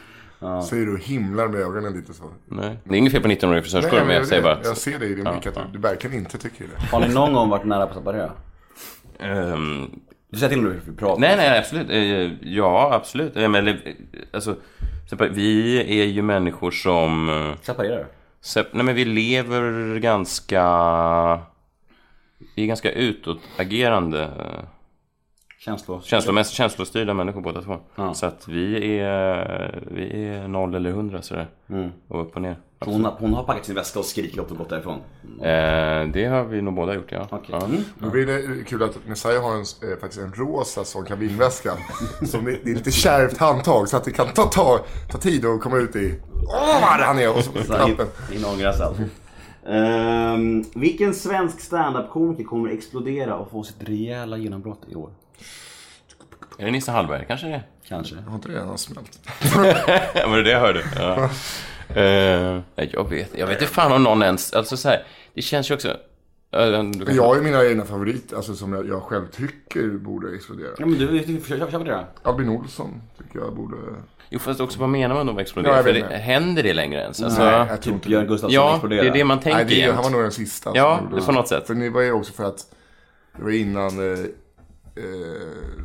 D: Säger du och himlar med ögonen lite så.
E: Nej. Det är inget fel på 19-åriga frisörskor, men jag säger bara
D: jag
E: att...
D: ser dig i din blick att du- du verkligen inte tycker det.
C: Har ni någon gång varit nära på att separera?
E: ehm,
C: Du säger till om du vill prata.
E: Nej, nej, absolut. Eh, Ja, absolut. Eh, Men, eller, eh, alltså, separ- vi är ju människor som... eh,
C: Separera.
E: sep- Nej, men vi lever ganska... Vi är ganska utåtagerande. eh,
C: Känslor.
E: Känslomässigt känslostyrda människor båda två. Så att vi är, vi är noll eller hundra sådär. Och upp och ner.
C: Hon, har- hon har packat sin väska och skriker upp och gått därifrån.
E: Eh, det har vi nog båda gjort ja.
C: Okej.
E: ja.
C: Mm.
D: Nu blir det kul att Messiah har en, eh, faktiskt en rosa sån kabinväska. Som det, det är lite kärvt handtag så att det kan ta, ta, ta tid att komma ut i... Åh, vad han är! Och så
C: Så här,
D: knappen.
C: in- Inångras allt. alltså. Ehm, vilken svensk standup-komiker kommer explodera och få sitt rejäla genombrott i år?
E: Är det Nisse Hallberg? Kanske det?
C: Kanske.
D: Har inte det redan smält?
E: Ja, var det det jag hörde? Ja. Eh, nej, jag vet Jag vet inte fan om någon ens... Alltså så här, det känns ju också... Eh, du kan-
D: Jag har ju mina egna favoriter, alltså som jag, jag själv tycker borde explodera.
C: Ja men du, du köp, köp det då.
D: Albin Olsson tycker jag borde...
E: Jo, fast också vad menar man då med
D: Ja,
E: explodera?
D: jag
E: För
D: vet
E: det,
D: inte.
E: händer det längre ens? Alltså,
D: Nej, jag tror
C: Typ
D: inte
C: Björn Gustafsson
E: ja, det
C: explodera.
E: är det man tänker
D: Nej, det är,
E: jämt.
D: han var nog den sista. som
E: Ja,
D: gjorde
E: det är på något sätt.
D: För det var ju också för att det var innan eh, eh,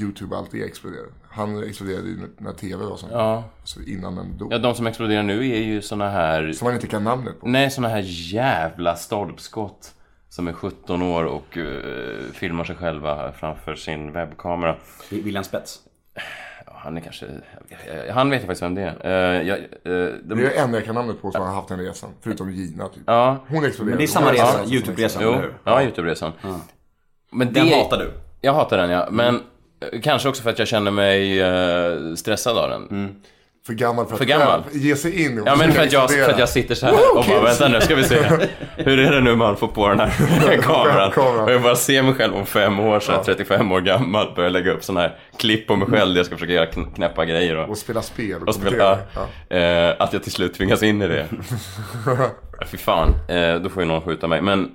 D: YouTube alltid exploderade. Han exploderade ju när- när TV var som
E: Ja.
D: Så innan men då.
E: ja, de som exploderar nu är ju såna här...
D: Som man inte kan namnet på.
E: Nej, såna här jävla stolpskott. Som är 17 år och eh, filmar sig själva framför sin webbkamera.
C: William Spets.
E: Ja, han är kanske... eh, Han vet jag faktiskt vem det är. Eh, jag, eh, de...
D: Det är det enda jag kan namnet på som har haft den resan. Förutom Gina typ.
E: Ja,
D: Hon exploderade.
C: Men det är samma
D: Hon var
C: resa,
D: den som
C: Youtube-resan,
E: jo.
C: eller hur?
E: Ja, Youtube-resan. Men det...
C: Den hatar du.
E: Jag hatar den, ja. Men eh, kanske också för att jag känner mig eh, stressad av den.
D: För gammal för att
E: För gammal.
D: ge sig in. och
E: Ja men för att, jag,
D: explodera.
E: för att jag sitter så här och bara vänta nu ska vi se. Hur är det nu man får på den här kameran?
D: Kameran.
E: Och jag bara ser mig själv om fem år så här, 35 år gammal börja lägga upp sådana här klipp på mig själv där jag ska försöka göra kn- knäppa grejer och,
D: Och spela spel. Och,
E: och spela.
D: kommentera. Ja.
E: Eh, att jag till slut tvingas in i det. Ja, Fy fan, eh, då får ju någon skjuta mig. Men,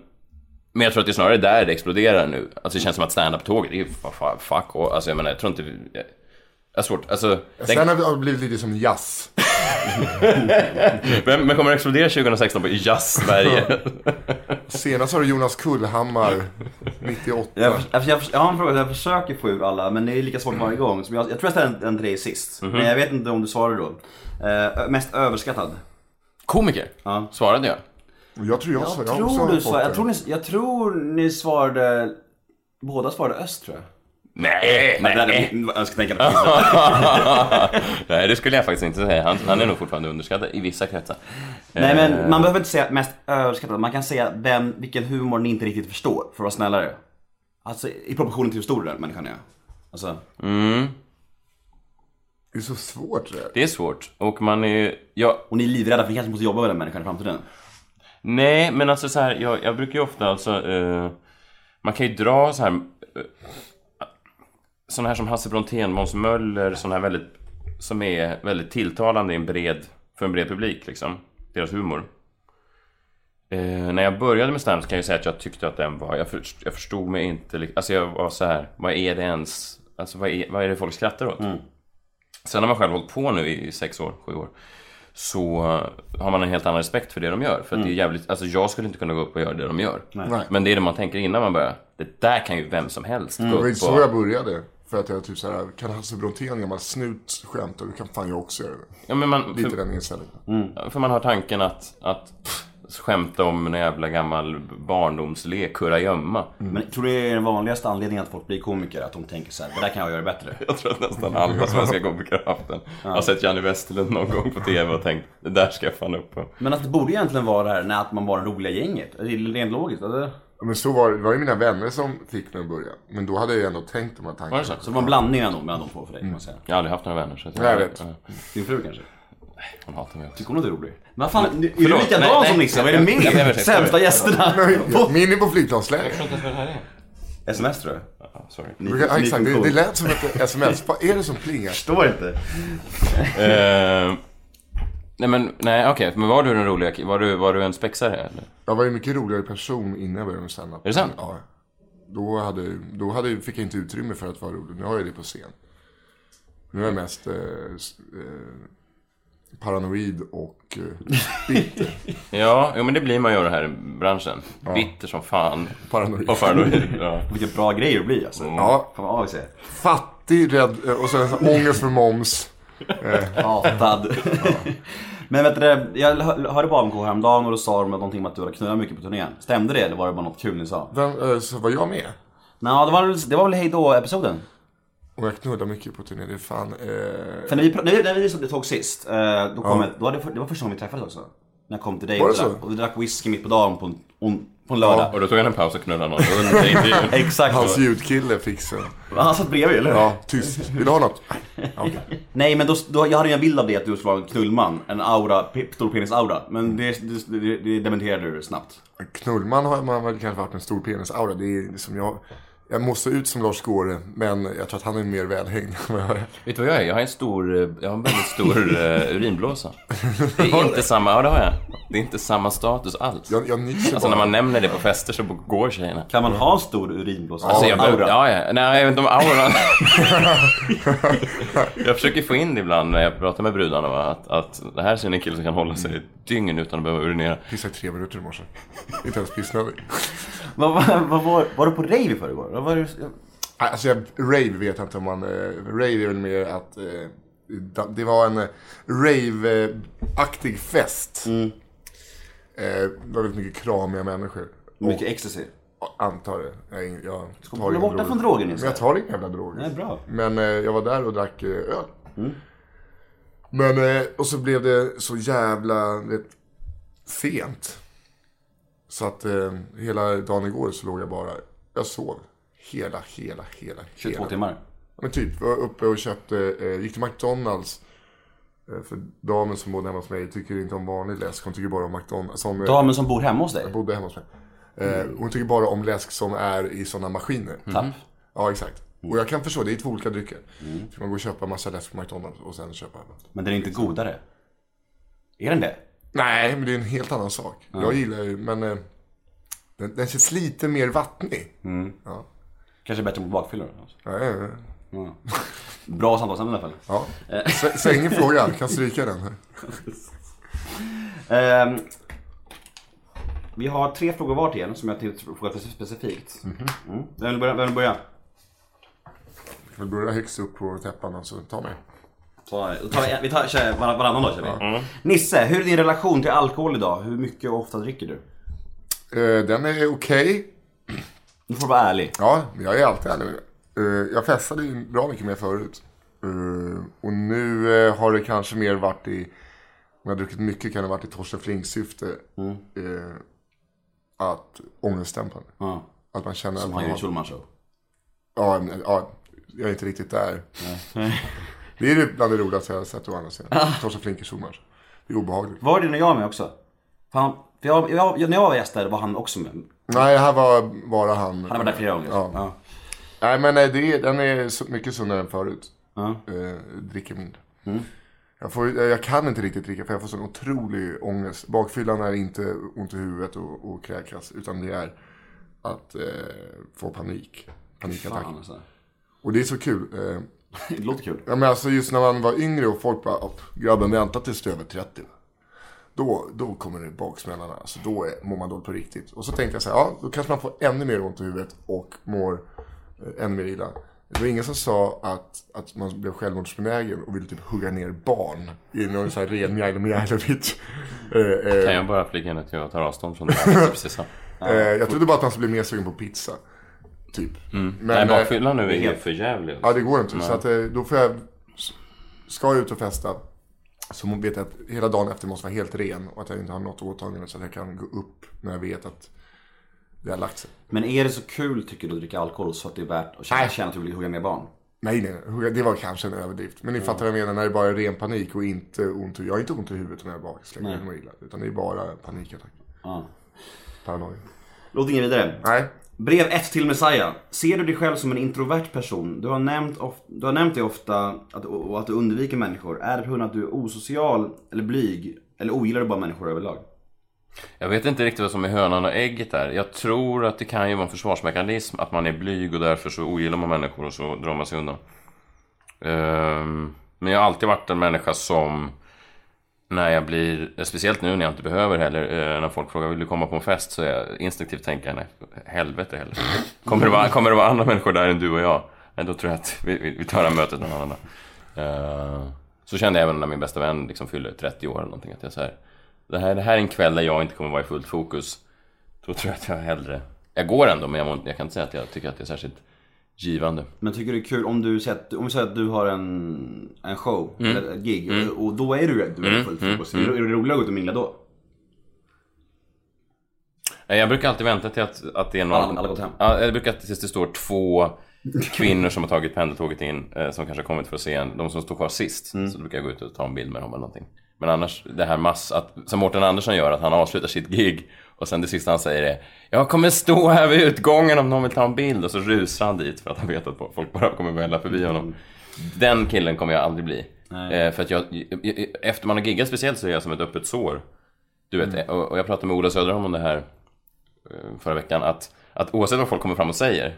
E: men jag tror att det är snarare där det exploderar nu. Alltså det känns som att stand-up-tåget, det är ju fa- fa- fuck och, Alltså jag menar jag tror inte... vi- Jag, jag har svårt, alltså... den-
D: Sen har det blivit lite som jazz.
E: men, men kommer det explodera 2016 på Jazz Sverige?
D: Senast har du Jonas Kullhammar, 98.
C: Jag, jag, jag, jag har en fråga, jag försöker få ur alla men det är lika svårt varje gång. Som jag, jag tror jag ställde en, en till dig sist, men jag vet inte om du svarade då. Eh, mest överskattad?
E: Komiker,
C: Ja.
E: svarade jag.
D: Och Jag tror jag, jag, jag också
C: tror
D: har
C: du
D: fått
C: svar, jag,
D: det.
C: tror ni, jag tror ni svarade, båda svarade öst tror jag.
E: Nej, nej, Eh, nej.
C: Jag ska tänka
E: nej, det skulle jag faktiskt inte säga. Han, han är nog fortfarande underskattad i vissa kretsar.
C: Nej men man behöver inte säga mest överskattad, man kan säga vem, vilken humor ni inte riktigt förstår för att vara snällare. Alltså i proportion till hur stor den människan är. Alltså,
D: Det är så svårt det där.
E: Det är svårt. Och man är jag,
C: och ni är livrädda för ni kanske måste jobba med den människan i framtiden.
E: Nej, men alltså så här, jag, jag brukar ju ofta alltså... Eh, man kan ju dra så här... Eh, såna här som Hasse Brontén, Måns Möller, såna här väldigt... Som är väldigt tilltalande i en bred, för en bred publik liksom. Deras humor. Eh, när jag började med stand kan jag ju säga att jag tyckte att den var... Jag, först, jag förstod mig inte... lik- Alltså jag var så här, vad är det ens... Alltså vad är, vad är det folk skrattar åt? Sen har man själv hållit på nu i sex år, sju år så eh, har man en helt annan respekt för det de gör. För att det är jävligt, alltså jag skulle inte kunna gå upp och göra det de gör.
D: Nej.
E: Men det är det man tänker innan man börjar. Det där kan ju vem som helst gå
D: Det var ju
E: upp
D: så jag
E: och...
D: började. För att jag typ såhär, kan Hasse Brontén gammal snut skämta? Då kan fan jag också göra det.
E: Ja, men man,
D: Lite
E: för,
D: den inställningen.
E: för man har tanken att, att pff, skämta om en jävla gammal barndomslek, kurragömma.
D: Mm.
C: Men tror du det är den vanligaste anledningen att folk blir komiker? Att de tänker så här, det där kan jag göra bättre.
E: Jag tror att nästan alla svenska komiker har haft den. Jag har sett Janne Westerlund någon gång på TV och tänkt, det där ska jag fan upp på.
C: Men att det borde egentligen vara det här när att man var det roliga gänget. Det är rent logiskt. Alltså, Eller?
D: Men så var det. Det var ju mina vänner som fick mig att börja. Men då hade jag ju ändå tänkt de här tankarna.
E: Var det så?
C: Så det var en blandning ändå mellan de två för dig kan man säga.
E: Jag har aldrig haft några vänner så att
D: Nej, jag vet.
C: Din fru kanske?
E: Hon hatar mig också.
C: Tycker hon att du är rolig? Men vad fan, är du
E: Förlåt. Nej,
C: likadan
E: nej.
C: som Nisse? Vad är det med
E: Jag ber om
C: er?
E: ursäkt.
C: Sämsta gästerna!
D: Ja, Min är på flygplansläge.
C: Sms tror jag.
E: Ja, sorry.
D: Ja, exakt, det,
C: funktion.
D: det lät som ett sms. Vad är det som plingar?
C: Förstår inte.
E: Eh, nej men, nej okej, men var du den roliga ki- Var du, var du en spexare eller?
D: Jag var ju en mycket roligare person innan jag började med standup.
E: Är det sant?
D: Ja. Då, hade, då hade, fick jag inte utrymme för att vara rolig. Nu har jag det på scen. Nu är jag mest eh, s- eh, paranoid och eh,
E: Ja, jo, men det blir man ju av den här branschen. Bitter som fan.
D: paranoid.
E: Och paranoid. Ja.
C: Vilka bra grejer det blir alltså.
E: Mm.
D: Ja,
C: Fan vad av sig.
D: fattig, rädd eh, och sen så ångest för moms.
C: Hatad. Men vet du, det, jag hör- hörde på AMK häromdagen och då sa de någonting om att du hade knullat mycket på turnén. Stämde det eller var det bara något kul ni sa?
D: Vem, eh, så var jag med.
C: Nej, det var, väl- det var väl hejdå-episoden?
D: Och jag knullade mycket på turné. Det är fan... Eh,
C: För när vi, pra- när vi, när vi som det tog sist, eh, då kom jag, då var det, för- det var första gången vi träffades också. När jag kom till dig
D: Var
C: och,
D: det
C: drack,
D: så?
C: och vi drack whisky mitt på dagen på en, on, på en lördag.
E: Och då tog han en paus och knullade någon under intervjun.
C: Exakt
D: hans
C: så.
D: ljudkille fixade den.
C: Han satt bredvid eller hur?
D: Ja, tyst. Vill du ha något? Nej. Ja, okej.
C: Nej men då, då, jag hade ju en bild av dig att du skulle vara en knullman. En aura, pe- stor penis-aura.
D: Mm.
C: Men det, det, det, det dementerade du snabbt.
D: Knullman har man väl kanske haft en stor penisaura. Det är som jag... Jag måste ut som Lars Gåre, men jag tror att han är mer välhängd än vad jag är.
E: Vet du vad jag är? Jag har en stor, eh, jag har en väldigt stor eh, urinblåsa. Det är inte samma, ja det har jag. Det är inte samma status alls.
D: Jag, jag nyser
E: Alltså
D: bara.
E: när man nämner det på fester så går tjejerna.
C: Kan man ha en stor urinblåsa?
E: Alltså jag behöver,
C: aura?
E: ja, ja. Nej, jag vet inte om auran. jag försöker få in det ibland när jag pratar med brudarna. Va? Att, att det här ser en kille som kan hålla sig ett dygn utan att behöva urinera.
D: Pissade i tre minuter i morse. Inte ens pissnödig.
C: Vad vad- vad var, var du på rave i förrgår? Vad var det,
D: Alltså, jag, rave vet jag inte om man... Eh, rave är väl mer att... Eh, da- det var en eh, rave-aktig fest. Eh, det var väldigt mycket kramiga människor.
C: mycket ecstasy.
D: Jag antar det. Jag, jag tar
C: hålla
D: inga
C: borta
D: droger.
C: från droger, Nisse.
D: Men jag tar inga jävla droger.
C: Nej, bra. Mm.
D: Men eh, jag var där och drack eh, öl. Men, eh, och så blev det så jävla, du vet, sent. Så att eh, hela dagen igår så låg jag bara, jag sov. Hela, hela, hela,
C: 22
D: hela.
C: timmar.
D: Men typ, var uppe och köpte, eh, gick till McDonalds. Eh, för damen som bodde hemma hos mig tycker inte om vanlig läsk, hon tycker bara om McDonalds. Som, eh,
C: Damen som bor hemma hos dig?
D: bodde hemma hos mig. Eh, hon tycker bara om läsk som är i sådana maskiner.
C: Tapp.
D: Ja, exakt. Och jag kan förstå, det är två olika drycker. Så man går och köpa massa läsk på McDonalds och sen köpa annat.
C: Men den är inte godare. Är den det?
D: Nej, men det är en helt annan sak. Jag gillar ju, men eh, den, den känns lite mer vattnig.
C: Kanske bättre mot bakfyllor.
D: Ja, ja, ja.
C: Bra samtalsämne i alla fall.
D: Ja. S- Släng fråga, kan stryka den. här.
C: Ehm, vi har tre frågor var till er som jag tänkte fråga för specifikt.
D: Mhm.
C: Mm. Vem vill börja? Vem vill börja?
D: Vi kan börja högst upp på täppan och så ta mig.
C: Ta, ta, vi tar, kör var- varannan då kör vi.
D: Mm.
C: Nisse, hur är din relation till alkohol idag? Hur mycket och ofta dricker du?
D: Eh, Den är okej.
C: Du får vara ärlig.
D: Ja, men jag är alltid ärlig med det. Eh, Jag festade ju bra mycket mer förut. Eh, Och nu eh, har det kanske mer varit i, om jag har druckit mycket kan det ha varit i Torsten Flinks syfte.
C: Mm.
D: eh, Att ångestdämpande.
C: Ja.
D: Att man känner att
C: Som han
D: man
C: gör i
D: har
C: Schulman show.
D: Ja, men, ja, jag är inte riktigt där. Det är ju bland det roligaste jag har sett å andra sidan. Torsten Flinck i Schulmans. Det är obehagligt.
C: Var det när jag var med också? För han, för jag, jag, när jag var gäst där var han också med. Han
D: Nej, det här var bara han.
C: har varit där flera gånger.
D: Ja.
C: Ja.
D: Nej, men nej, det är, den är så- mycket sundare än förut.
C: Ja. Mm.
D: Eh, dricker mindre. Jag, får, eh, jag kan inte riktigt dricka för jag får sån otrolig ångest. Bakfyllan är inte ont i huvudet och, och kräkas. Utan det är att eh, få panik. Panikattack.
C: Fan, alltså.
D: Och det är så kul. Eh,
C: Det låter kul.
D: Ja, men alltså just när man var yngre och folk bara, "Åh, grabben vänta tills du är över 30. Då, då kommer det baksmällarna. Alltså då är, mår man dåligt på riktigt. Och så tänkte jag så här, ja, då kanske man får ännu mer ont i huvudet och mår eh, ännu mer illa. Det var ingen som sa att, att man blev självmordsbenägen och ville typ hugga ner barn i någon sån här ren Mjailo Mjailovic. Eh, eh,
E: Kan jag bara flika in att jag tar avstånd från det här? Det är precis sant.
D: eh, jag trodde bara att man skulle bli mer sugen på pizza. Typ. Men,
E: Nej,
D: eh,
E: bakfyllan nu är helt för jävlig.
D: Ja, det går inte. Så att, eh, då får jag... Ska jag ut och festa så vet jag att hela dagen efter måste vara helt ren och att jag inte har något åtagande så att jag kan gå upp när jag vet att det har lagt sig.
C: Men är det så kul tycker du att dricka alkohol så att det är värt att tjäna, tjäna att du vill hugga med barn?
D: Nej, nej, hugga- det var kanske en överdrift. Men ni fattar vad jag menar när det bara är ren panik och inte ont i Jag har inte ont i huvudet när jag bara slänger in mig illa. Utan det är bara panikattack.
C: Ja.
D: Paranoia.
C: Låt ingen vidare.
D: Nej,
C: Brev 1 till Messiah. Ser du dig själv som en introvert person? Du har nämnt, of- du har nämnt det ofta att, och att du undviker människor. Är det på grund av att du är osocial eller blyg? Eller ogillar du bara människor överlag?
E: Jag vet inte riktigt vad som är hönan och ägget där. Jag tror att det kan ju vara en försvarsmekanism att man är blyg och därför så ogillar man människor och så drar man sig undan. Ehm, men jag har alltid varit en människa som när jag blir, speciellt nu när jag inte behöver heller, eh, när folk frågar vill du komma på en fest så är jag instinktivt tänker jag, nej, helvete heller. Kommer det, vara, kommer det vara andra människor där än du och jag? Nej, då tror jag att vi, vi, vi tar det här mötet någon annan dag. Eh, Så kände jag även när min bästa vän liksom fyllde 30 år eller någonting att jag så här, det här, det här är en kväll där jag inte kommer vara i fullt fokus. Då tror jag att jag hellre, jag går ändå men jag, mår inte- jag kan inte säga att jag tycker att det är särskilt givande.
C: Men tycker du det är kul om du säger att, om vi säger att du har en, en show, eller ett gig, och, och då är du, du är fullt fokus. Är det- Är det roligare att gå ut och mingla då?
E: Nej, Eh, Jag brukar alltid vänta till att, att det är någon...
C: Alla- alla gått hem.
E: Ja, jag brukar tills det står två kvinnor som har tagit pendeltåget in, eh, som kanske har kommit för att se en. De som står kvar sist.
C: Mm.
E: Så brukar jag gå ut och ta en bild med dem eller någonting. Men annars, det här mass... Att, som Mårten Andersson gör, att han avslutar sitt gig och sen det sista han säger är Jag kommer stå här vid utgången om någon vill ta en bild. Och så rusar han dit för att han vet att folk bara kommer välla förbi
C: Mm.
E: honom. Den killen kommer jag aldrig bli. Eh, för att jag, efter man har giggat speciellt så är jag som ett öppet sår. Du vet,
C: Mm.
E: och och jag pratade med Ola Söderholm om det här eh, förra veckan att, att oavsett vad folk kommer fram och säger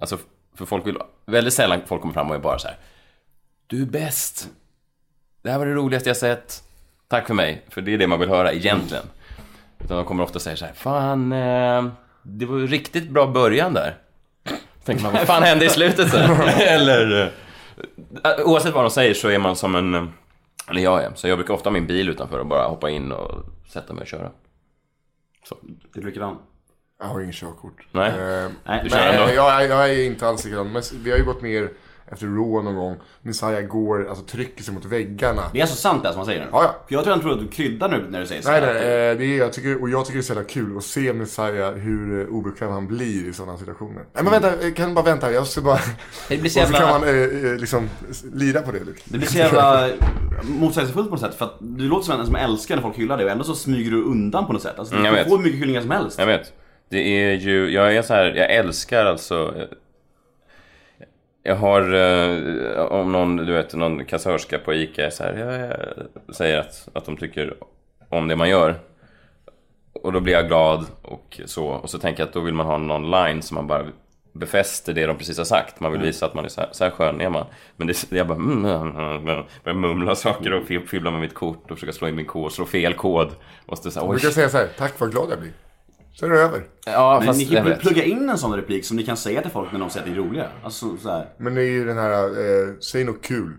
E: Alltså för folk vill Väldigt sällan folk kommer fram och är bara så här Du är bäst Det här var det roligaste jag sett Tack för mig, för det är det man vill höra egentligen Utan de kommer ofta säga så här Fan, eh, det var ju riktigt bra början där Tänker man, vad fan hände i slutet så här? Eller eh, Oavsett vad de säger så är man som en eh, Eller jag är, så jag brukar ofta ha min bil utanför och bara hoppa in och sätta mig och köra
C: Det är likadant.
D: jag har inget körkort.
E: Nej.
D: Eh,
E: Du
C: Nej,
E: kör
C: nej.
E: ändå?
D: Nej, jag, jag är inte alls likadan. Men vi har ju gått mer efter rån någon gång. Messiah går, alltså trycker sig mot väggarna.
C: Det är alltså sant det som man säger nu?
D: Ja, ja.
C: För jag tror han tror att du kryddar nu när du säger så.
D: Nej,
C: här.
D: nej, eh, det är, jag tycker, och jag tycker det är så jävla kul att se Messiah hur eh, obekväm han blir i sådana situationer. Nej men vänta, eh, kan du bara vänta? Jag ska bara...
C: Det blir så
D: Och så
C: jävla-
D: kan man eh, eh, liksom s- lira på det lite.
C: Det blir så jävla motsägelsefullt på något sätt för att du låter som en som älskar när folk hyllar dig och ändå så smyger du undan på något sätt. Alltså,
E: jag
C: du
E: vet.
C: får hur mycket hyllningar som helst.
E: Jag vet. Det är ju, jag är så här, jag älskar alltså... eh, Jag har, eh, om någon, du vet, någon kassörska på ICA är så här, jag, jag, säger att, att de tycker om det man gör. Och då blir jag glad och så. Och så tänker jag att då vill man ha någon line som man bara befäster det de precis har sagt. Man vill
D: Mm.
E: visa att man är så här, så här skön är man. Men det, jag bara mm, mm, mm, mm. börjar mumla saker och fy- fylla med mitt kort och försöka slå in min kod, slå fel kod. Och så, så här,
D: Jag
E: oj.
D: brukar säga så här, tack vad glad jag blir. Så är det över.
E: Ja,
C: Men
E: fast
C: ni
E: jag
C: kan ju
E: vet.
C: plugga in en sån replik som ni kan säga till folk när de säger att det är roliga. Alltså så här.
D: Men det är ju den här, eh, säg något kul.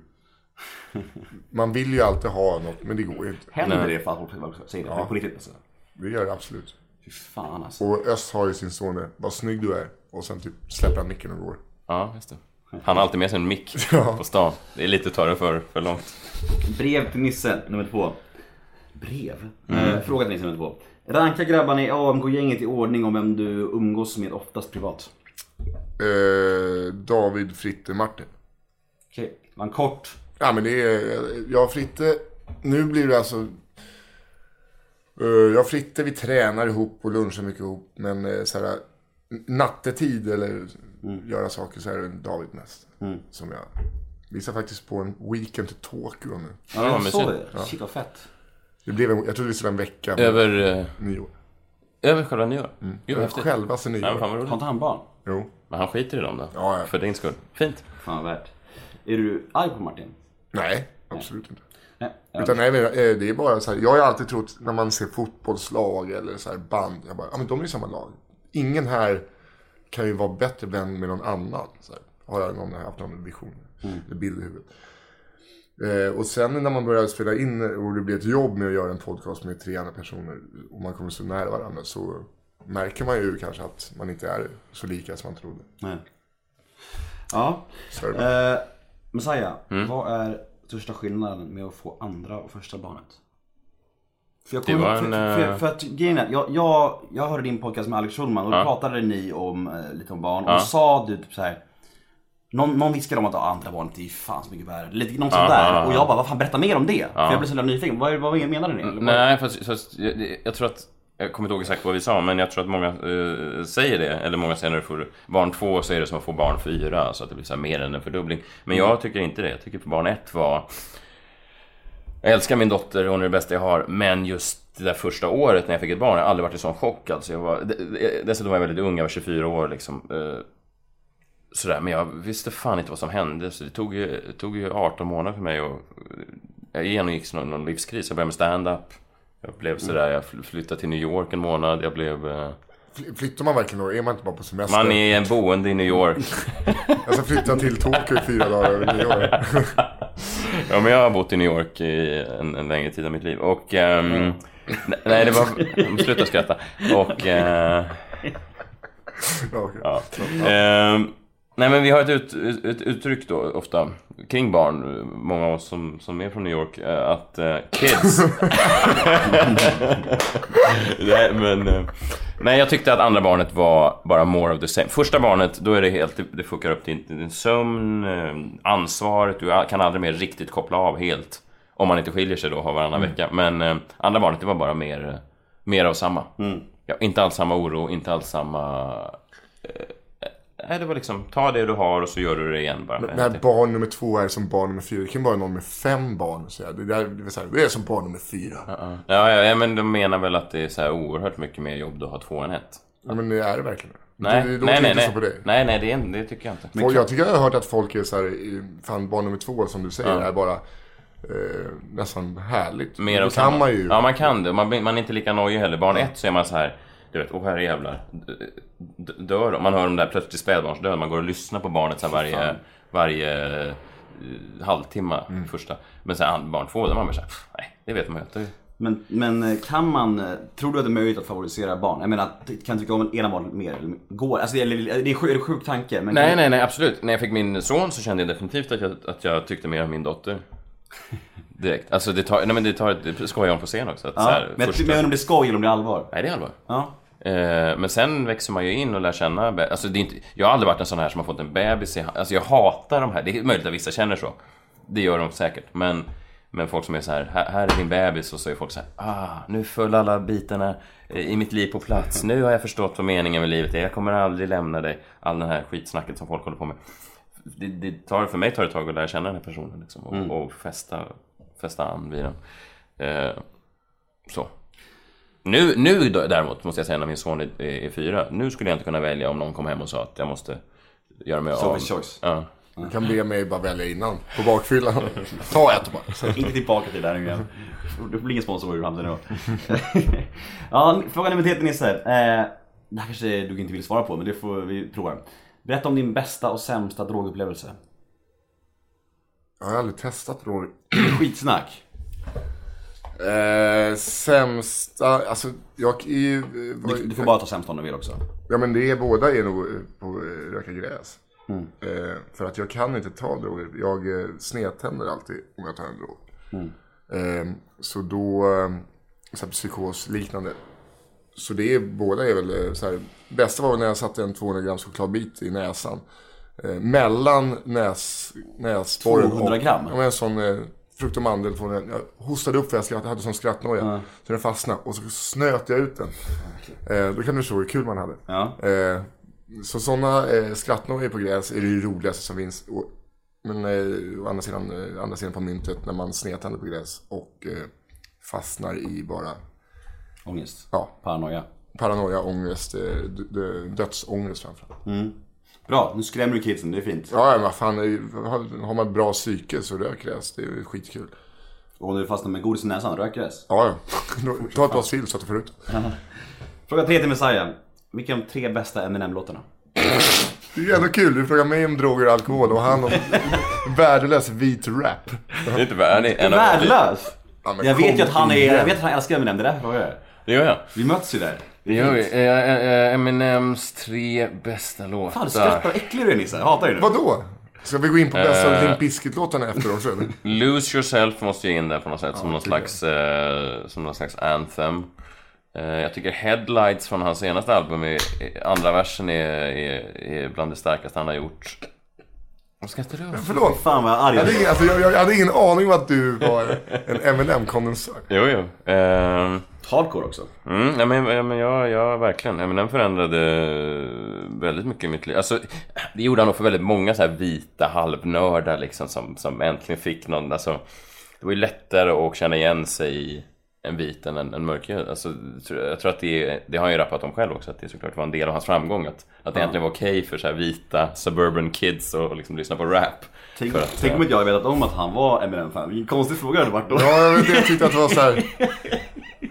D: Man vill ju alltid ha något, men det går ju inte.
C: Händer det för att folk säger det? Men På riktigt alltså.
D: Det gör det absolut.
C: Fy fan alltså.
D: Och Öst har ju sin son där, vad snygg du är. Och sen typ släpper han micken och går.
E: Ja, just det. Han har alltid med sig en mick på stan. Det är lite att ta det för, för långt.
C: Brev till Nisse nummer två. Brev?
E: Mm.
C: Eh, fråga till Nisse nummer två. Ranka grabbarna i AMK-gänget i ordning om vem du umgås med oftast privat.
D: Eh, David, Fritte, Martin.
C: Okej, det var en kort.
D: Ja men det är, jag och Fritte, nu blir det alltså... Eh, Jag och Fritte vi tränar ihop och lunchar mycket ihop. Men eh, så här, nattetid eller göra saker så här är David mest.
E: Mm.
D: Som jag... Vi ska faktiskt på en weekend till Tokyo nu.
C: Ja, det var
E: men
C: så
E: shit.
C: det. Shit vad fett.
D: Det blev en, jag trodde vi skulle ha en vecka. men
E: Över, eh,
D: Nyår.
E: över själva nyår. Gud, vad häftigt.
D: Självaste
E: Nej, men fan
D: nyår.
E: vad
C: Har
E: roligt.
C: inte han barn?
D: Jo.
E: Men han skiter i dem då.
D: Ja, ja.
E: För din skull. Fint.
C: Fan vad värt. Är du arg på Martin?
D: Nej, absolut inte.
C: Nej.
D: Utan nej, men, eh, det är bara så här, jag har ju alltid trott när man ser fotbollslag eller så här band, jag bara, ja men de är ju samma lag. Ingen här kan ju vara bättre vän med någon annan. Så här, har jag någon haft någon vision,
C: Mm.
D: eller bild i huvudet. Eh, och sen när man börjar spela in och det blir ett jobb med att göra en podcast med tre andra personer och man kommer så nära varandra så märker man ju kanske att man inte är så lika som man trodde.
C: Nej. Ja.
D: Så är det.
C: Eh, Messiah,
E: Mm.
C: vad är största skillnaden med att få andra och första barnet? För jag
E: Det
C: kommer-
E: var en,
C: för, för,
E: eh,
C: för att grejen är, jag, jag, jag hörde din podcast med Alex Schulman och då pratade ni om eh, lite om barn och då sa du typ så här. Någon, någon viskade om att ah, andra barnet är fan så mycket värre, lite något sånt där. Och jag bara, vad fan berätta mer om det? För jag blev så jävla nyfiken, vad, vad menade ni? Eller vad-
E: Nej, fast, fast jag, det- jag tror att... Jag kommer inte ihåg exakt vad vi sa, men jag tror att många eh, säger det. Eller många säger när du får barn två så är det som att få barn fyra. Så att det blir så här mer än en fördubbling. Men jag tycker inte det. Jag tycker att barn ett var... Jag älskar min dotter, hon är det bästa jag har. Men just det där första året när jag fick ett barn, jag har aldrig varit i sån chock. Alltså jag var, dessutom var jag väldigt ung, jag var 24 år liksom. eh, Sådär, men jag visste fan inte vad som hände. Så det tog ju, det tog ju 18 månader för mig och jag genomgick någon, någon livskris. Jag började med stand-up. Jag blev sådär, jag fly- flyttade till New York en månad. Jag blev... eh,
D: Fly- Flyttar man verkligen då? Är man inte bara på semester?
E: Man är en boende i New York.
D: Jag ska flytta till Tokyo i fyra dagar över nyår.
E: Ja men jag har bott i New York i en, en längre tid av mitt liv och... ehm, ne- nej det var... Sluta skratta. Och... eh,
D: Ja, okej.
E: ja. Ehm, nej men vi har ett, ut, ett uttryck då ofta kring barn, många av oss som, som är från New York, eh, att eh, kids... nej men... eh, nej jag tyckte att andra barnet var bara more of the same. Första barnet, då är det helt... Det fuckar upp din, din sömn, eh, ansvaret, du kan aldrig mer riktigt koppla av helt. Om man inte skiljer sig då och har varannan
D: Mm.
E: vecka. Men eh, andra barnet, det var bara mer, eh, mer av samma.
D: Mm.
E: Ja, inte alls samma oro, inte alls samma Nej, det var liksom ta det du har och så gör du det igen bara.
D: Men När barn nummer två är som barn nummer fyra. Det kan vara någon med fem barn och säga. Det, där, det, är så här, det är som barn nummer fyra.
E: ja, ja, ja, men de menar väl att det är så här oerhört mycket mer jobb du har två än ett.
D: Ja, men det är det verkligen
E: Nej,
D: det, det låter
E: nej, nej,
D: inte
E: nej.
D: så på dig.
E: nej, nej, det, är, det tycker jag inte.
D: Och jag tycker jag har hört att folk är så här, i- fan barn nummer två som du säger är bara eh, nästan härligt.
E: Mer av
D: det
E: samma.
D: kan man ju.
E: Ja, man kan det. Man, man är inte lika nojig heller. Barn ett så är man så här, du vet, åh herrejävlar. d- d- Dör de? Man hör de där plötsligt spädbarnsdöden. Man går och lyssnar på barnet så här varje, varje Mm. eh, halvtimme första. Men sen barn två, där man bara så här, "Pff, nej, det vet man ju att det
C: Men, men kan man, eh, tror du att det är möjligt att favorisera barn? Jag menar, kan du tycka om en ena barn mer? eller Går, alltså det är, det är, en sjuk- det är en sjuk tanke. Men
E: Nej,
C: kan,
E: nej, nej, absolut. När jag fick min son så kände jag definitivt att jag, att jag tyckte mer om min dotter. Direkt. Alltså det tar, nej men det tar, det skojar om på scen också. Att så
C: Ja,
E: här,
C: men jag
E: första,
C: men jag undrar om det är skoj eller om det är allvar.
E: Nej, det är allvar.
C: Ja.
E: Eh, men sen växer man ju in och lär känna be- alltså, det är inte, Jag har aldrig varit en sån här som har fått en bebis i ha- Alltså jag hatar de här. Det är möjligt att vissa känner så. Det gör de säkert. Men, men folk som är så här, här, här är din bebis och så är folk så här, ah, nu föll alla bitarna eh, i mitt liv på plats. Nu har jag förstått vad meningen med livet är. Jag kommer aldrig lämna dig. All det här skitsnacket som folk håller på med. Det, det tar, för mig tar det ett tag att lära känna den här personen liksom, och, och fästa, fästa an vid den. Eh, så. Nu, nu då- däremot, måste jag säga, när min son är, är, är fyra. Nu skulle jag inte kunna välja om någon kom hem och sa att jag måste göra mig av...
C: Sophie's choice.
E: Ja.
D: Du kan be mig bara välja innan, på bakfyllan. Ta ett bara.
C: Inte tillbaka till det där nu igen. Det blir ingen sponsor i framtiden då. ja, fråga nummer tre till Nisse. Eh, det här kanske du inte vill svara på, men det får vi prova. Berätta om din bästa och sämsta drogupplevelse.
D: Jag har aldrig testat någon.
C: Skitsnack.
D: Eh, sämsta, alltså jag är ju... eh, var-
C: Du, du får bara ta sämst om du vill också.
D: Ja men det är båda är nog eh, på eh, röka gräs. Eh, för att jag kan inte ta droger. Jag eh, snedtänder alltid om jag tar en drog. Eh, så då, eh, så här, psykosliknande. Så det är, båda är väl eh, så här, bästa var väl när jag satte en 200 grams chokladbit i näsan. Eh, mellan näs, näsborren
C: 200 gram?
D: Och, ja, men en sån eh, frukt och mandel. Från, en- jag hostade upp för jag skratt- jag hade sån skrattnoja. Så den fastnade och så snöt jag ut den. Eh, då kan du förstå hur kul man hade.
C: Ja.
D: Eh, så sådana eh, skrattnojor på gräs är det ju roligaste som finns. Och, men eh, å andra sidan, eh, andra sidan på myntet när man snedtänder på gräs och eh, fastnar i bara
C: Ångest.
D: ja,
C: Paranoia.
D: paranoia, ångest, eh, d- d- dödsångest framförallt.
C: Bra, nu skrämmer du kidsen, det är fint.
D: Ja, men vad fan, eh, har, har man ett bra psyke så rök gräs, det är ju skitkul.
C: Och om du fastnar med godis i näsan, rök gräs.
D: Ja, ja. Då- Ta ett glas till så att du får ut.
C: Fråga tre till Messiah. Vilka är de tre bästa Eminem-låtarna?
D: Det är ju ändå kul, du frågar mig om droger och alkohol och han om värdelös vit rap.
E: Det är inte värdigt. En av-
C: Värdelös!
D: Ja, men
C: Jag vet ju att han är,
D: igen.
C: jag vet att han älskar Eminem, det är därför jag frågar.
E: Det gör jag.
C: Vi möts ju där.
E: Det gör vi. Eh, eh, eh, Eminems tre bästa
C: Fan, du
E: låtar.
C: skrattar äcklig du är Nisse, jag hatar ju nu.
D: Vadå? Ska vi gå in på bästa
E: Eh.
D: Limp Bizkit-låtarna efter dem så eller?
E: Lose Yourself måste ju in där på något sätt. som, någon
D: tycker jag.
E: slags, eh, som någon slags anthem. Eh, jag tycker Headlights från hans senaste album, är, är, andra versen är, är, är bland det starkaste han har gjort. Vad skrattar du åt?
D: Förlåt.
C: Fan vad arg jag
D: Jag hade, ingen, alltså, jag, jag hade ingen aning om att du var en M&M-kondensör.
E: Jo, jo. Eh,
C: Hardcore också.
E: Mm, nej, men, ja, men jag, jag verkligen. Ja, men den förändrade väldigt mycket i mitt liv. Alltså, det gjorde han nog för väldigt många så här vita halvnördar liksom som, som äntligen fick någon, alltså. Det var ju lättare att känna igen sig i en vit än en, en mörkhyad. Alltså, jag tror att det, det har han ju rappat om själv också, att det såklart var en del av hans framgång. Att, att det egentligen var okej för så här vita suburban kids att liksom lyssna på rap.
C: Tänk,
E: För att,
C: tänk
E: eh,
C: om inte jag hade vetat om att han var Eminem-fan. Vilken konstig fråga det hade varit då.
D: Ja, jag, vet, jag tyckte att det var så här.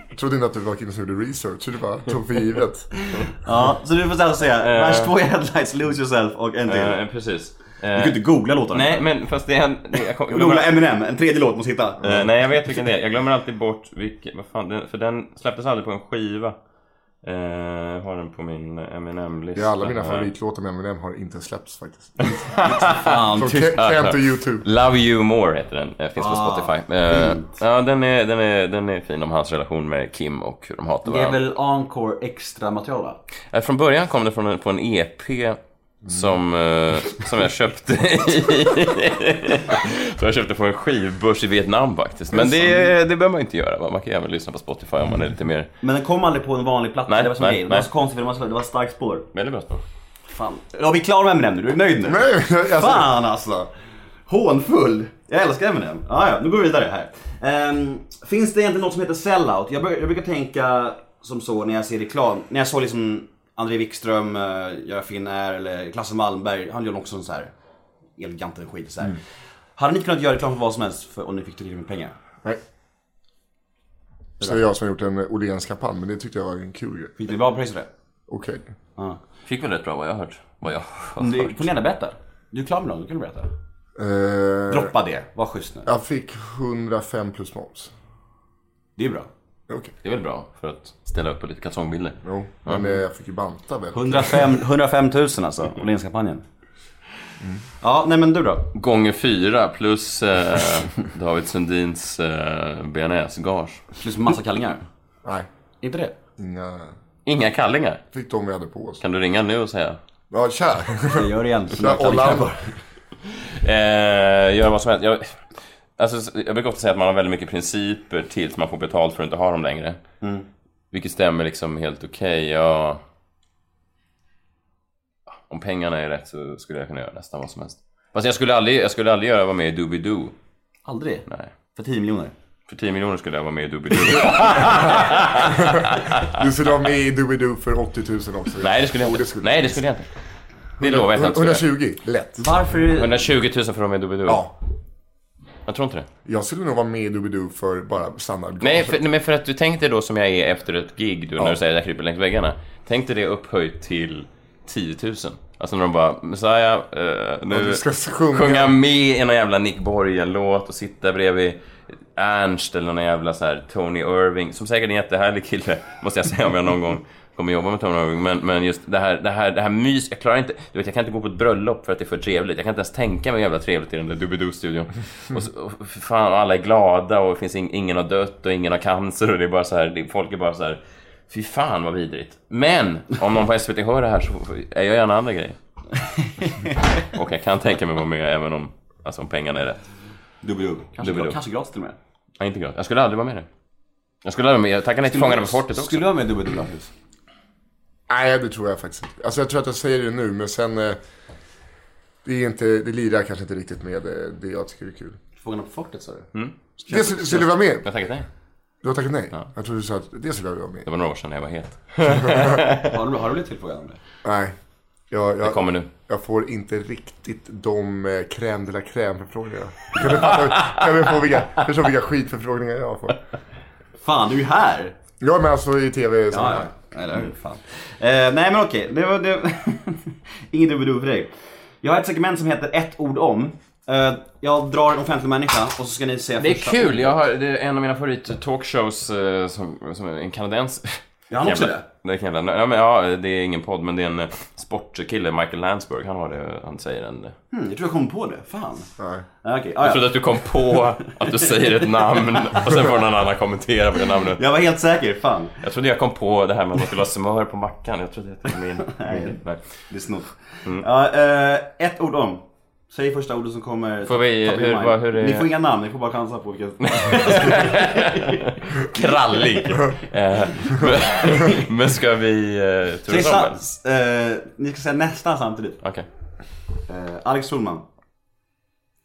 D: Jag trodde inte att du var killen som gjorde research, så du bara tog för givet.
C: Ja, så du får säga säga, vers två i headlights, lose yourself och en till.
E: eh, precis.
C: Du kan ju inte googla låtarna.
E: Nej, men fast det är en... det- Jag kom, jag glömmer-
C: Googla Eminem, en tredje låt måste hitta.
D: Mm.
E: Eh, nej, jag vet vilken det är. Jag glömmer alltid bort vilken... Vad fan, den, för den släpptes aldrig på en skiva. Eh, jag har den på min Eh. M&M-lista.
D: Ja, alla mina
E: här.
D: favoritlåtar med M&M har inte släppts faktiskt.
C: Fan,
D: Från
C: tyst.
D: Ke- Kent och YouTube.
E: Love You More heter den. Eh, finns på
C: Ah,
E: Spotify. Eh, ja, den är, den, är, den är fin om hans relation med Kim och hur de hatar
C: Det är
E: varandra.
C: väl encore extra material va?
E: Eh, från början kom det från en, på en EP som,
D: Mm.
E: eh, som jag köpte i... som jag köpte på en skivbörs i Vietnam faktiskt. Men det, det behöver man inte göra. va? Man kan ju även lyssna på Spotify om man är lite mer...
C: Men den kom aldrig på en vanlig platta,
E: Nej,
C: det var som
E: nej,
C: nej, Det var
E: nej.
C: så konstigt för det var, så, det var ett starkt spår.
E: Väldigt bra spår.
C: Fan. Ja, vi är klara med Eminem nu, du är nöjd nu?
D: Nej, alltså,
C: Fan alltså! Hånfull! Jag älskar Eminem. Ah, ja, nu går vi vidare här. Ehm, finns det egentligen något som heter sellout? Jag, brukar- jag brukar tänka som så när jag ser reklam. När jag såg liksom André Wikström eh, göra Finn är eller Klasse Malmberg. Han gör också en så här eleganten skit så här. Hade ni kunnat göra reklam för vad som helst för, om ni fick tillräckligt med pengar?
D: nej. Så det är jag som har gjort en Åhléns-kampanj, men det tyckte jag var en kul grej.
C: Fick ni bra pris för det?
D: Okej.
E: Fick väl rätt bra vad jag har hört. Vad jag har
C: Du
E: hört.
C: får gärna berätta. Du är klar med dem, du kan berätta.
D: Eh,
C: Droppa det, var schysst nu.
D: jag fick 105 plus moms.
C: Det är bra.
D: Okej.
E: Det är väl bra för att ställa upp på lite kalsongbilder.
D: Jo, men eh, jag fick ju banta väl.
C: 105, 105 000 alltså, Åhlénskampanjen. Ja, nej men du då?
E: Gånger fyra plus eh, David Sundins eh, bearnaisegage.
C: Plus massa kallingar.
D: Nej,
C: Inte det?
D: inga...
E: Inga kallingar.
D: Fick de vi hade på oss.
E: Kan du ringa nu och säga?
D: Ja, tja!
C: Jag gör det igen.
D: Tja, Orlando.
E: Eh, gör vad som helst. Jag, alltså, jag brukar ofta säga att man har väldigt mycket principer tills man får betalt för att inte ha dem längre. Vilket stämmer liksom helt okej. Ja. Om pengarna är rätt så skulle jag kunna göra nästan vad som helst. Fast jag skulle aldrig, jag skulle aldrig göra vara med i Doobidoo.
C: Aldrig?
E: Nej.
C: För 10 miljoner?
E: För 10 miljoner skulle jag vara med i E. Doobidoo.
D: Du skulle ha med i Doobidoo för 80 000 också.
E: Nej, det skulle jag
D: Jo,
E: inte. Nej, det skulle jag inte. Det lovar jag att jag inte. skulle.
D: 120, lätt.
C: Varför? är det-
E: 120 000 för att vara med i Doobidoo?
D: Ja,
E: Jag tror inte det.
D: jag skulle nog vara med i Doobidoo för bara standard.
E: Nej, för, nej, men för att du tänkte då som jag är efter ett gig, då, när du säger jag kryper längs väggarna. Tänk dig det upphöjt till 10 000. Alltså när de bara, Messiah, eh, nu
D: du ska sjunga."
E: med i någon jävla Nick Borgen-låt och sitta bredvid Ernst eller någon jävla så här Tony Irving, som säkert är en jättehärlig kille, måste jag säga om jag någon gång kommer jobba med Tony Irving. Men, men just det här, det här, det här mys, jag klarar inte, du vet jag kan inte gå på ett bröllop för att det är för trevligt. Jag kan inte ens tänka mig hur jävla trevligt i den där Doobidoo-studion. Och, så- och för fan, och alla är glada och det finns ing, ingen har dött och ingen har cancer och det är bara så här, det, folk är bara så här, fy fan vad vidrigt. Men om någon på SVT hör det här så är jag gärna andra grejer. Och jag kan tänka mig att vara med även om, alltså, om pengarna är rätt.
C: Dubbel Kanske,
E: Dubbel upp.
C: kanske gratis till och med.
E: Nej, inte gratis. Jag skulle aldrig vara med i det. Jag skulle aldrig vara med. Jag tackar nej till Fångarna på fortet också.
C: Skulle du ha med dubbel gratis?
D: Nej, det tror jag faktiskt inte. Alltså jag tror att jag säger det nu, men sen... eh, Det, är inte, det lirar kanske inte riktigt med eh, det jag tycker är kul.
C: Fångarna på fortet sa du?
D: Det skulle skulle du vara med?
E: Jag tackar nej.
D: Du har tackat nej? Jag trodde du sa att det skulle jag vara med.
E: Det var några år sedan när jag var het.
C: Har, du, har du blivit tillfrågad om det?
D: Nej. Jag,
E: Det
D: jag,
E: kommer nu.
D: jag får inte riktigt de eh, crème de la crème-förfrågningarna. Kan du fatta- kan du få vilka, förstå vilka skitförfrågningar jag får?
C: Fan, du är ju här!
D: Ja, men alltså i tv
C: Ja, ja. Eller hur? Fan. Eh, nej men okej, det var... Det... Ingen dubbel för dig. Jag har ett segment som heter ett ord om. Eh, jag drar en offentlig människa och så ska ni säga
E: Det är
C: första.
E: kul. Jag har, det är en av mina favorit-talkshows eh, som, som är en kanadens...
C: Ja, han har också
E: Jävla-
C: det.
E: Det är kan jävla, ja, men, ja, det är ingen podd, men det är en eh, sportkille, Michael Landsberg. Han har det, han säger en...
C: Hmm, jag tror jag kom på det. Fan.
D: Nej.
C: Ja, Okej, ah,
E: Jag
C: ja.
E: trodde att du kom på att du säger ett namn och sen får någon annan kommentera på det namnet.
C: Jag var helt säker, fan.
E: Jag trodde jag kom på det här med att man skulle ha smör på mackan. Jag trodde att det var min... min nej.
C: Det är snott.
E: Mm.
C: Ja, eh, ett ord om. Säg första ordet som kommer.
E: Får vi-
C: Top of
E: hur-
C: mind.
E: vad- hur är-
C: Ni får inga namn, ni får bara chansa på Alltså, vilka...
E: Krallig! Eh, men- men ska vi... eh,
C: Säg
E: Turas om?
C: sam-
E: eller?
C: eh, ni ska säga nästan samtidigt.
E: Okej.
C: Eh, Alex Schulman.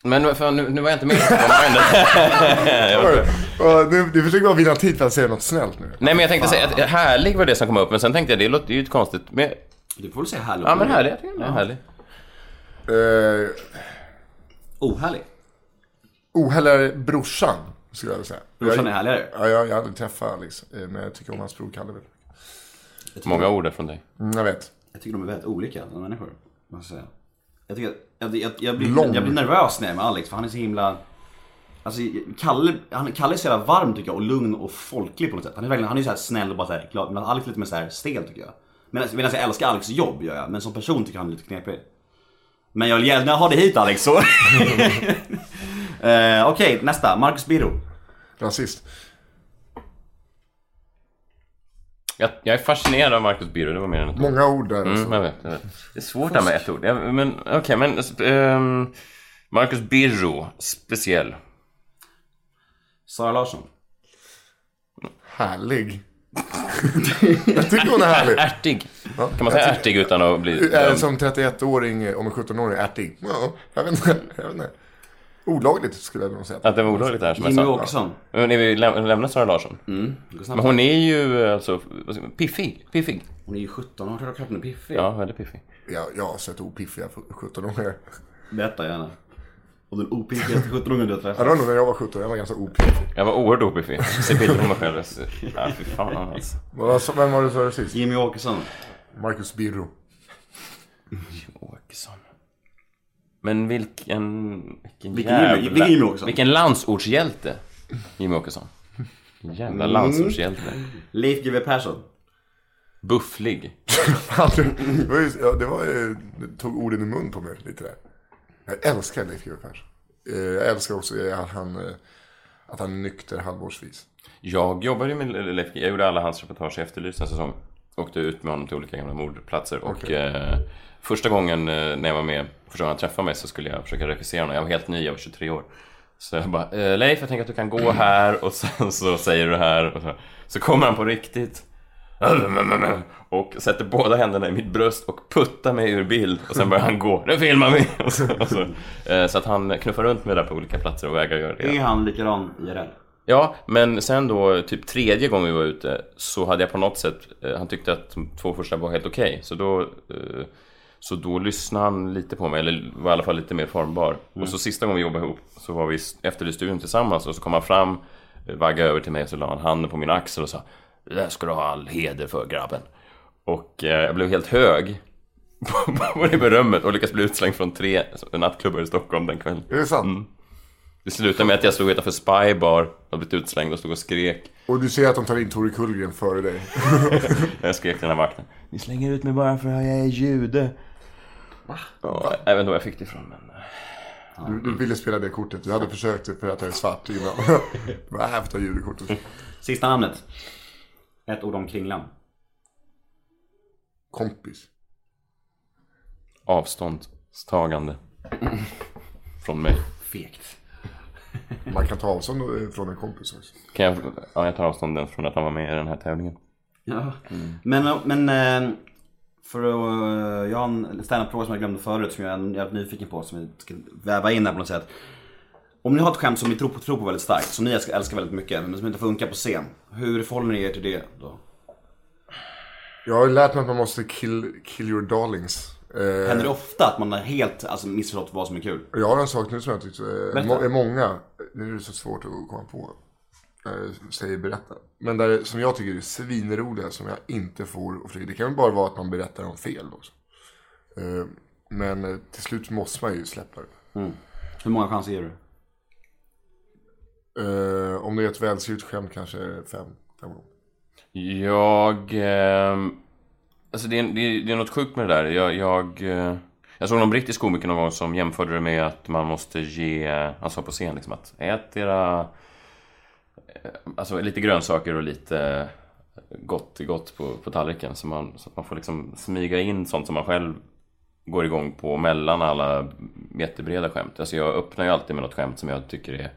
E: Men vad fan, nu, nu var jag inte med. Vad hände?
D: Och nu, du försöker bara vinna tid för att säga något snällt nu.
E: Nej men jag tänkte säga att härlig var det som kom upp, men sen tänkte jag det låter ju konstigt. Men,
C: Du får väl säga härlig.
E: ja men härlig, jag tycker den är härlig. Mm.
D: Eh,
C: Ohärlig.
D: oh, eller brorsan, skulle jag vilja säga.
C: Brorsan är
D: jag,
C: härligare.
D: ja, jag, jag hade träffat Alex, eh, men jag tycker om hans bror Kalle. väldigt mycket.
E: Många ord där från dig.
D: Mm, jag vet.
C: Jag tycker de är väldigt olika som människor. Måste jag säga. Jag, tycker, jag, jag, jag, blir,
D: Lång.
C: jag blir nervös när jag är med Alex för han är så himla... Alltså Kalle, han, Kalle är så jävla varm tycker jag och lugn och folklig på något sätt. Han är verkligen, han är ju så här snäll och bara så här glad. Medan Alex är lite mer så här stel tycker jag. Medan, medan jag älskar Alex jobb gör jag, men som person tycker jag han är lite knepig. Men jag vill gärna ha dig hit Alex så. eh, Okej, nästa. Marcus Birro.
D: Rasist.
E: Jag, jag är fascinerad av Marcus Birro, det var mer än ett ord.
D: Många ord där.
E: Mm,
D: Alltså.
E: jag vet, jag vet. Det är svårt det här med ett ord. Jag, men okej, men... alltså, ehm, Marcus Birro, speciell.
C: Sara Larsson.
D: Härlig. jag tycker hon är härlig.
E: Ärtig. Kan man säga ärtig utan att bli
D: Är
E: dömd?
D: som 31-åring eh, om en 17-åring är ärtig. Ja, jag vet inte. Jag vet inte. Olagligt skulle jag nog säga.
E: Att det var olagligt det här som jag
C: Jimmy
E: sa?
C: Åkesson.
E: Men är vi läm- lämnar Sara Larsson?
C: Mm,
E: Men hon är ju eh, alltså vad ska man- piffig. Piffig.
C: Hon är ju 17 år, klart hon är piffig.
E: Ja, väldigt piffig.
D: Jag, jag har sett opiffiga 17-åringar.
C: Berätta gärna. Och den opiffigaste 17-åringen du har träffat.
D: Jag var nog när jag var 17, jag var ganska opiffig.
E: Jag var oerhört opiffig. Se bilder på mig själv. Ja, fy fan alltså.
D: Vad var- Vem var det som var rasist?
C: Jimmy Åkesson.
D: Marcus Birro.
E: Åkesson. Men vilken... Vilken
C: Vilken Jimmy- vilken Jimmy Åkesson?
E: Vilken landsortshjälte. Jimmy Åkesson. Jävla landsortshjälte.
C: Mm. Leif GW Persson.
E: Bufflig.
D: det var ju, ja, det var, ju- det tog orden i mun på mig lite där. Jag älskar Leif GW Persson. Eh, Jag älskar också att han, eh, att han är nykter halvårsvis.
E: Jag jobbade ju med Leif Jag gjorde alla hans reportage i Efterlyst en säsong. Åkte ut med honom till olika gamla mordplatser. Och
D: Okej.
E: eh, första gången eh, när jag var med, första gången han träffade mig så skulle jag försöka regissera honom. Jag var helt ny, jag var 23 år. Så jag bara, eh, Leif jag tänker att du kan gå här och sen så säger du det här. Och så, så kommer han på riktigt. Och sätter båda händerna i mitt bröst och puttar mig ur bild och sen börjar han gå. Nu filmar vi! Och så, och så, eh, så att han knuffar runt mig där på olika platser och vägrar göra det.
C: Är han likadan IRL?
E: Ja, men sen då typ tredje gången vi var ute så hade jag på något sätt, eh, han tyckte att de två första var helt okej. så då, eh, så då lyssnade han lite på mig, eller var i alla fall lite mer formbar. Och så sista gången vi jobbade ihop så var vi s- efter i studion tillsammans och så kom han fram, eh, vaggade över till mig och så la han handen på min axel och sa Det där ska du ha all heder för grabben. Och eh, jag blev helt hög på, på det berömmet och lyckades bli utslängd från tre nattklubbar i Stockholm den kvällen.
D: Är det sant?
E: Det slutade med att jag stod utanför Spy Bar och blivit utslängd och stod och skrek.
D: Och du ser att de tar in Tore Kullgren före dig.
E: Jag skrek till den här vakten. Ni slänger ut mig bara för att jag är jude. Ja, jag vet inte var jag fick det ifrån men...
D: Du, du ville spela det kortet. Du hade försökt det för att jag är svart innan. Vad här för judekortet?
C: Sista namnet. Ett ord om Kringlan.
D: Kompis.
E: Avståndstagande. Från mig.
C: Fegt.
D: Man kan ta avstånd eh, från en kompis också.
E: Kan jag... Ja, jag tar avstånd den från att han var med i den här tävlingen.
C: Ja. Men, men eh, för att, eh, jag har en standup-fråga som jag glömde förut som jag är jag är nyfiken på som vi ska väva in här på något sätt. Om ni har ett skämt som ni tror på, tror på väldigt starkt, som ni älskar, älskar väldigt mycket, men som inte funkar på scen. Hur förhåller ni er till det då?
D: Jag har lärt mig att man måste kill, kill your darlings. Eh,
C: Händer det ofta att man har helt alltså, missförstått vad som är kul?
D: Jag har en sak nu som jag tyckte eh, må- är många, nu är det så svårt att komma på, eh, säger berätta. Men där, som jag tycker är svinroliga som jag inte får att flyga. Det kan väl bara vara att man berättar om fel också. Eh, men eh, till slut måste man ju släppa det.
C: Hur många chanser ger du?
D: Eh, om det är ett välskrivet skämt kanske fem, fem gånger.
E: Jag... ehm, alltså det är, det, är, det är något sjukt med det där. Jag, jag, eh, jag såg någon brittisk komiker någon gång som jämförde det med att man måste ge... Han sa på scen liksom att ät era... eh, Alltså lite grönsaker och lite eh, gott gott på, på tallriken. Så, man, så att man får liksom smyga in sånt som man själv går igång på mellan alla jättebreda skämt. Alltså jag öppnar ju alltid med något skämt som jag tycker är...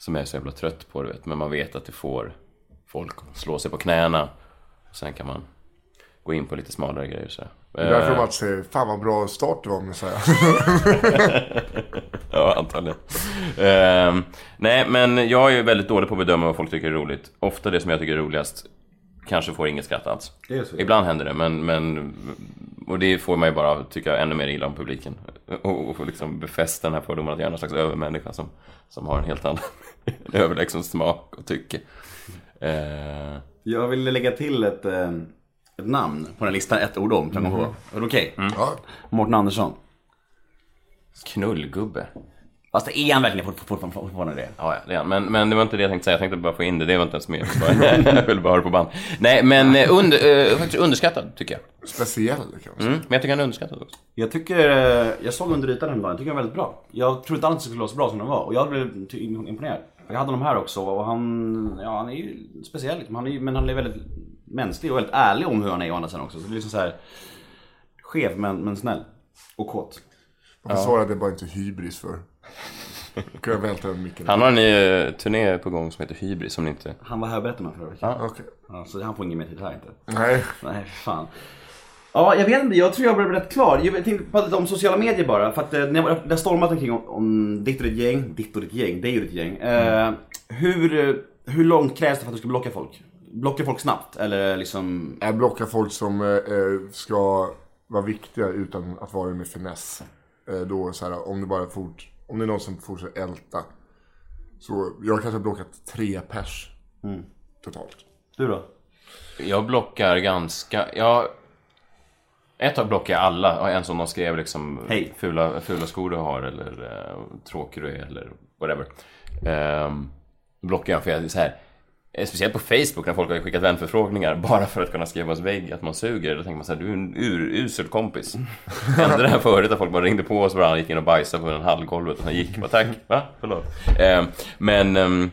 E: Som jag är så jävla trött på du vet. Men man vet att det får folk slå sig på knäna. Sen kan man gå in på lite smalare grejer så.
D: Det är
E: Eh.
D: därför man säger, fan vad bra start det var med så här.
E: Ja, antagligen. Ehm, nej, men jag är ju väldigt dålig på att bedöma vad folk tycker är roligt. Ofta det som jag tycker är roligast kanske får inget skratt alls.
C: Det är så.
E: Ibland händer det, men, men... Och det får man ju bara tycka ännu mer illa om publiken. Och, och få liksom befästa den här fördomen att jag är någon slags övermänniska som, som har en helt annan en överlägsen smak och tycke. Ehm,
C: Jag ville lägga till ett, eh, ett namn på den här listan, ett ord om. Kan man få. Mm. Är det okej?
D: Ja,
C: Mårten Andersson.
E: knullgubbe.
C: Fast det är han verkligen fort- fort- fort- fortfarande det?
E: Ja, ja, det är han. men, men det var inte det jag tänkte säga. Jag tänkte bara få in det. Det var inte ens med. Jag vill bara ha det på band. Nej, men eh, under, eh, faktiskt underskattad tycker jag.
D: speciell kanske.
E: Mm. Men jag tycker han är underskattad också.
C: Jag tycker, eh, jag såg under ytan den dagen, jag tycker den var väldigt bra. Jag trodde inte alls att det skulle vara så bra som den var och jag blev ty- imponerad. Jag hade honom här också och han, ja han är ju speciell liksom. han är, ju- men han är väldigt mänsklig och väldigt ärlig om hur han är å andra sidan också. Så det är liksom så här skev men, men snäll och kåt.
D: Varför svarade jag bara inte hybris för? Då kan jag välta den micken.
E: Han har en ny eh, turné på gång som heter Hybris som ni inte...
C: Han var här och berättade om det förra veckan.
D: Okej.
C: Ja, så han får ingen mer tid här inte.
D: Nej,
C: Nej, fan. Ja, jag vet inte. Jag tror jag blev rätt klar. Jag tänkte prata lite om sociala medier bara. För att eh, när jag- det har stormat omkring om, om ditt och ditt gäng. Ditt och ditt gäng. Det är ju ditt gäng. Eh, hur, eh, hur långt krävs det för att du ska blocka folk? Blocka folk snabbt? Eller liksom...
D: Jag blockar folk som eh, eh, ska vara viktiga utan att vara det med finess. Eh, då så här, om det bara fort, om det är någon som fortsätter älta. Så jag kanske har blockat tre pers.
C: Mm.
D: Totalt.
C: Du då?
E: Jag blockar ganska... Jag... Ett tag blockade jag alla. Och En som de skrev liksom
C: Hej.
E: fula, fula skor du har eller eh, tråkig du är eller whatever. Ehm, blockade jag för jag så här... eh, Speciellt på Facebook när folk har skickat vänförfrågningar bara för att kunna skriva oss vägg att man suger. Då tänker man så här, du är en urusel kompis. Hände det här förut att folk bara ringde på oss varandra, gick in och bajsade på en hallgolvet och sen gick bara tack, va? Förlåt. Eh, men, ehm,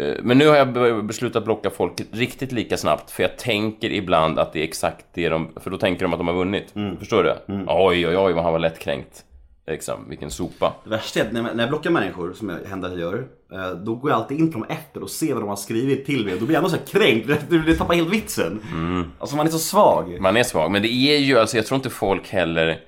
E: eh, men nu har jag be- beslutat blocka folk riktigt lika snabbt för jag tänker ibland att det är exakt det de, för då tänker de att de har vunnit. Förstår du? Oj, oj, oj vad han var lättkränkt. Liksom, vilken sopa.
C: Det värsta är att när jag- när jag blockar människor, som jag händer att jag gör, eh, då går jag alltid in till dem efter och ser vad de har skrivit till mig. Då blir jag ändå så här kränkt, du du tappar helt vitsen. Alltså man är så svag.
E: Man är svag, men det är ju, alltså jag tror inte folk heller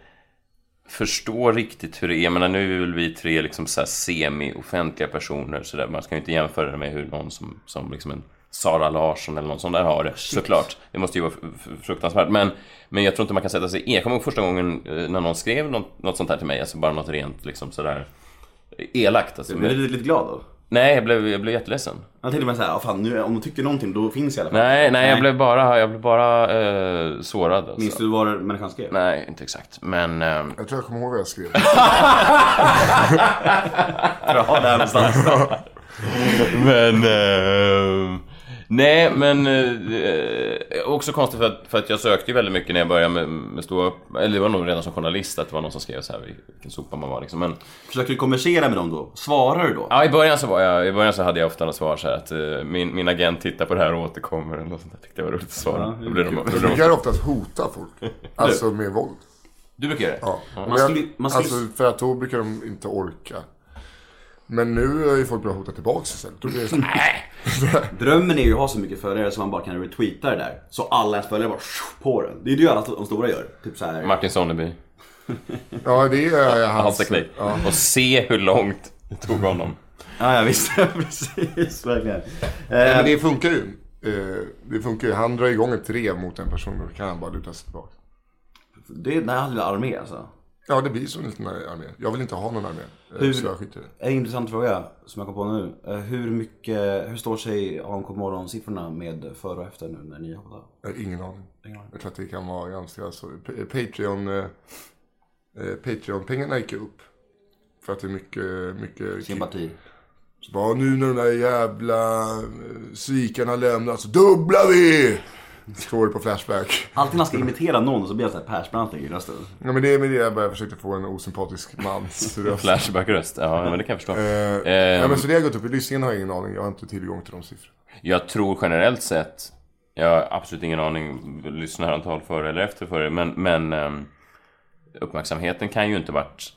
E: förstår riktigt hur det är. Jag menar nu är väl vi tre liksom så här semi-offentliga personer så där. Man ska ju inte jämföra det med hur någon som, som liksom en Sara Larsson eller någon sån där har det. Såklart. Det måste ju vara f- f- fruktansvärt. Men, men jag tror inte man kan sätta sig in. Jag kommer ihåg första gången eh, när någon skrev något, något sånt här till mig. Alltså bara något rent liksom sådär elakt. Alltså.
C: Men du är lite lite glad då?
E: Nej, jag blev, jag blev jätteledsen.
C: Jag tänkte bara såhär, fan nu, om de tycker någonting då finns jag i alla fall.
E: Nej, nej, jag blev bara, jag blev bara eh, sårad. Alltså.
C: Minns du vad människan skrev?
E: Nej, inte exakt. Men... ehm,
D: Jag tror jag kommer ihåg vad jag skrev.
C: Bra där någonstans.
E: Men... eh, nej, men... eh, också konstigt för att, för att jag sökte ju väldigt mycket när jag började med, med stå upp. Eller det var nog redan som journalist att det var någon som skrev så här vilken sopa man var liksom. Men
C: Försöker du konversera med dem då? Svarar du då?
E: ja, i början så var jag... I början så hade jag ofta något svar så här att eh, min, min agent tittar på det här och återkommer eller något sånt där. Tyckte jag var roligt att svara.
C: Ja,
E: Då blir de- då blir
D: Jag
E: de-
D: brukar oftast hota folk. Alltså med våld.
E: Du brukar göra det?
D: Ja.
C: Man skulle- man skulle-
D: Alltså, för att då brukar de inte orka. Men nu har ju folk börjat hota tillbaka istället. Då blir det så här,
C: Drömmen är ju att ha så mycket följare så man bara kan retweeta det där. Så alla ens följare bara shoo, på den. Det är det ju alla de stora gör. Typ så här.
E: Martin Sonneby.
D: Ja, det är
E: Hans
D: hans...
C: Alltså,
E: teknik. Och se hur långt det tog honom.
C: Ja, ja visst. Precis, verkligen.
D: Nej,
C: Eh,
D: Men det funkar ju. Eh, Det funkar ju. Han drar igång ett drev mot en person och då kan han bara luta sig tillbaka.
C: det är en halv armé alltså.
D: Ja, det blir som en liten armé. Jag vill inte ha någon armé. eh,
C: Hur-
D: Så jag skiter i det.
C: En intressant fråga som jag kom på nu. Eh, Hur mycket, hur står sig AMK morgon-siffrorna med före och efter nu när ni jobbar?
D: Jag har ingen aning. Jag tror att det kan vara ganska så. P- Patreon... eh, eh, Patreon-pengarna gick ju upp. För att det är mycket... mycket
C: Sympati.
D: Vad nu när de där jävla eh, svikarna lämnas, dubblar vi! Står det på Flashback.
C: Alltid när han ska imitera någon så blir jag såhär Persbranting i rösten.
D: Ja, men det är med det jag bara försökte få en osympatisk mans röst.
E: Flashback-röst. Ja, men det kan jag förstå.
D: Eh, ja, men så det har gått upp. Lyssningen har jag ingen aning. Jag har inte tillgång till de siffrorna.
E: Jag tror generellt sett, jag har absolut ingen aning lyssnarantal före eller efter före, men, men ehm, uppmärksamheten kan ju inte varit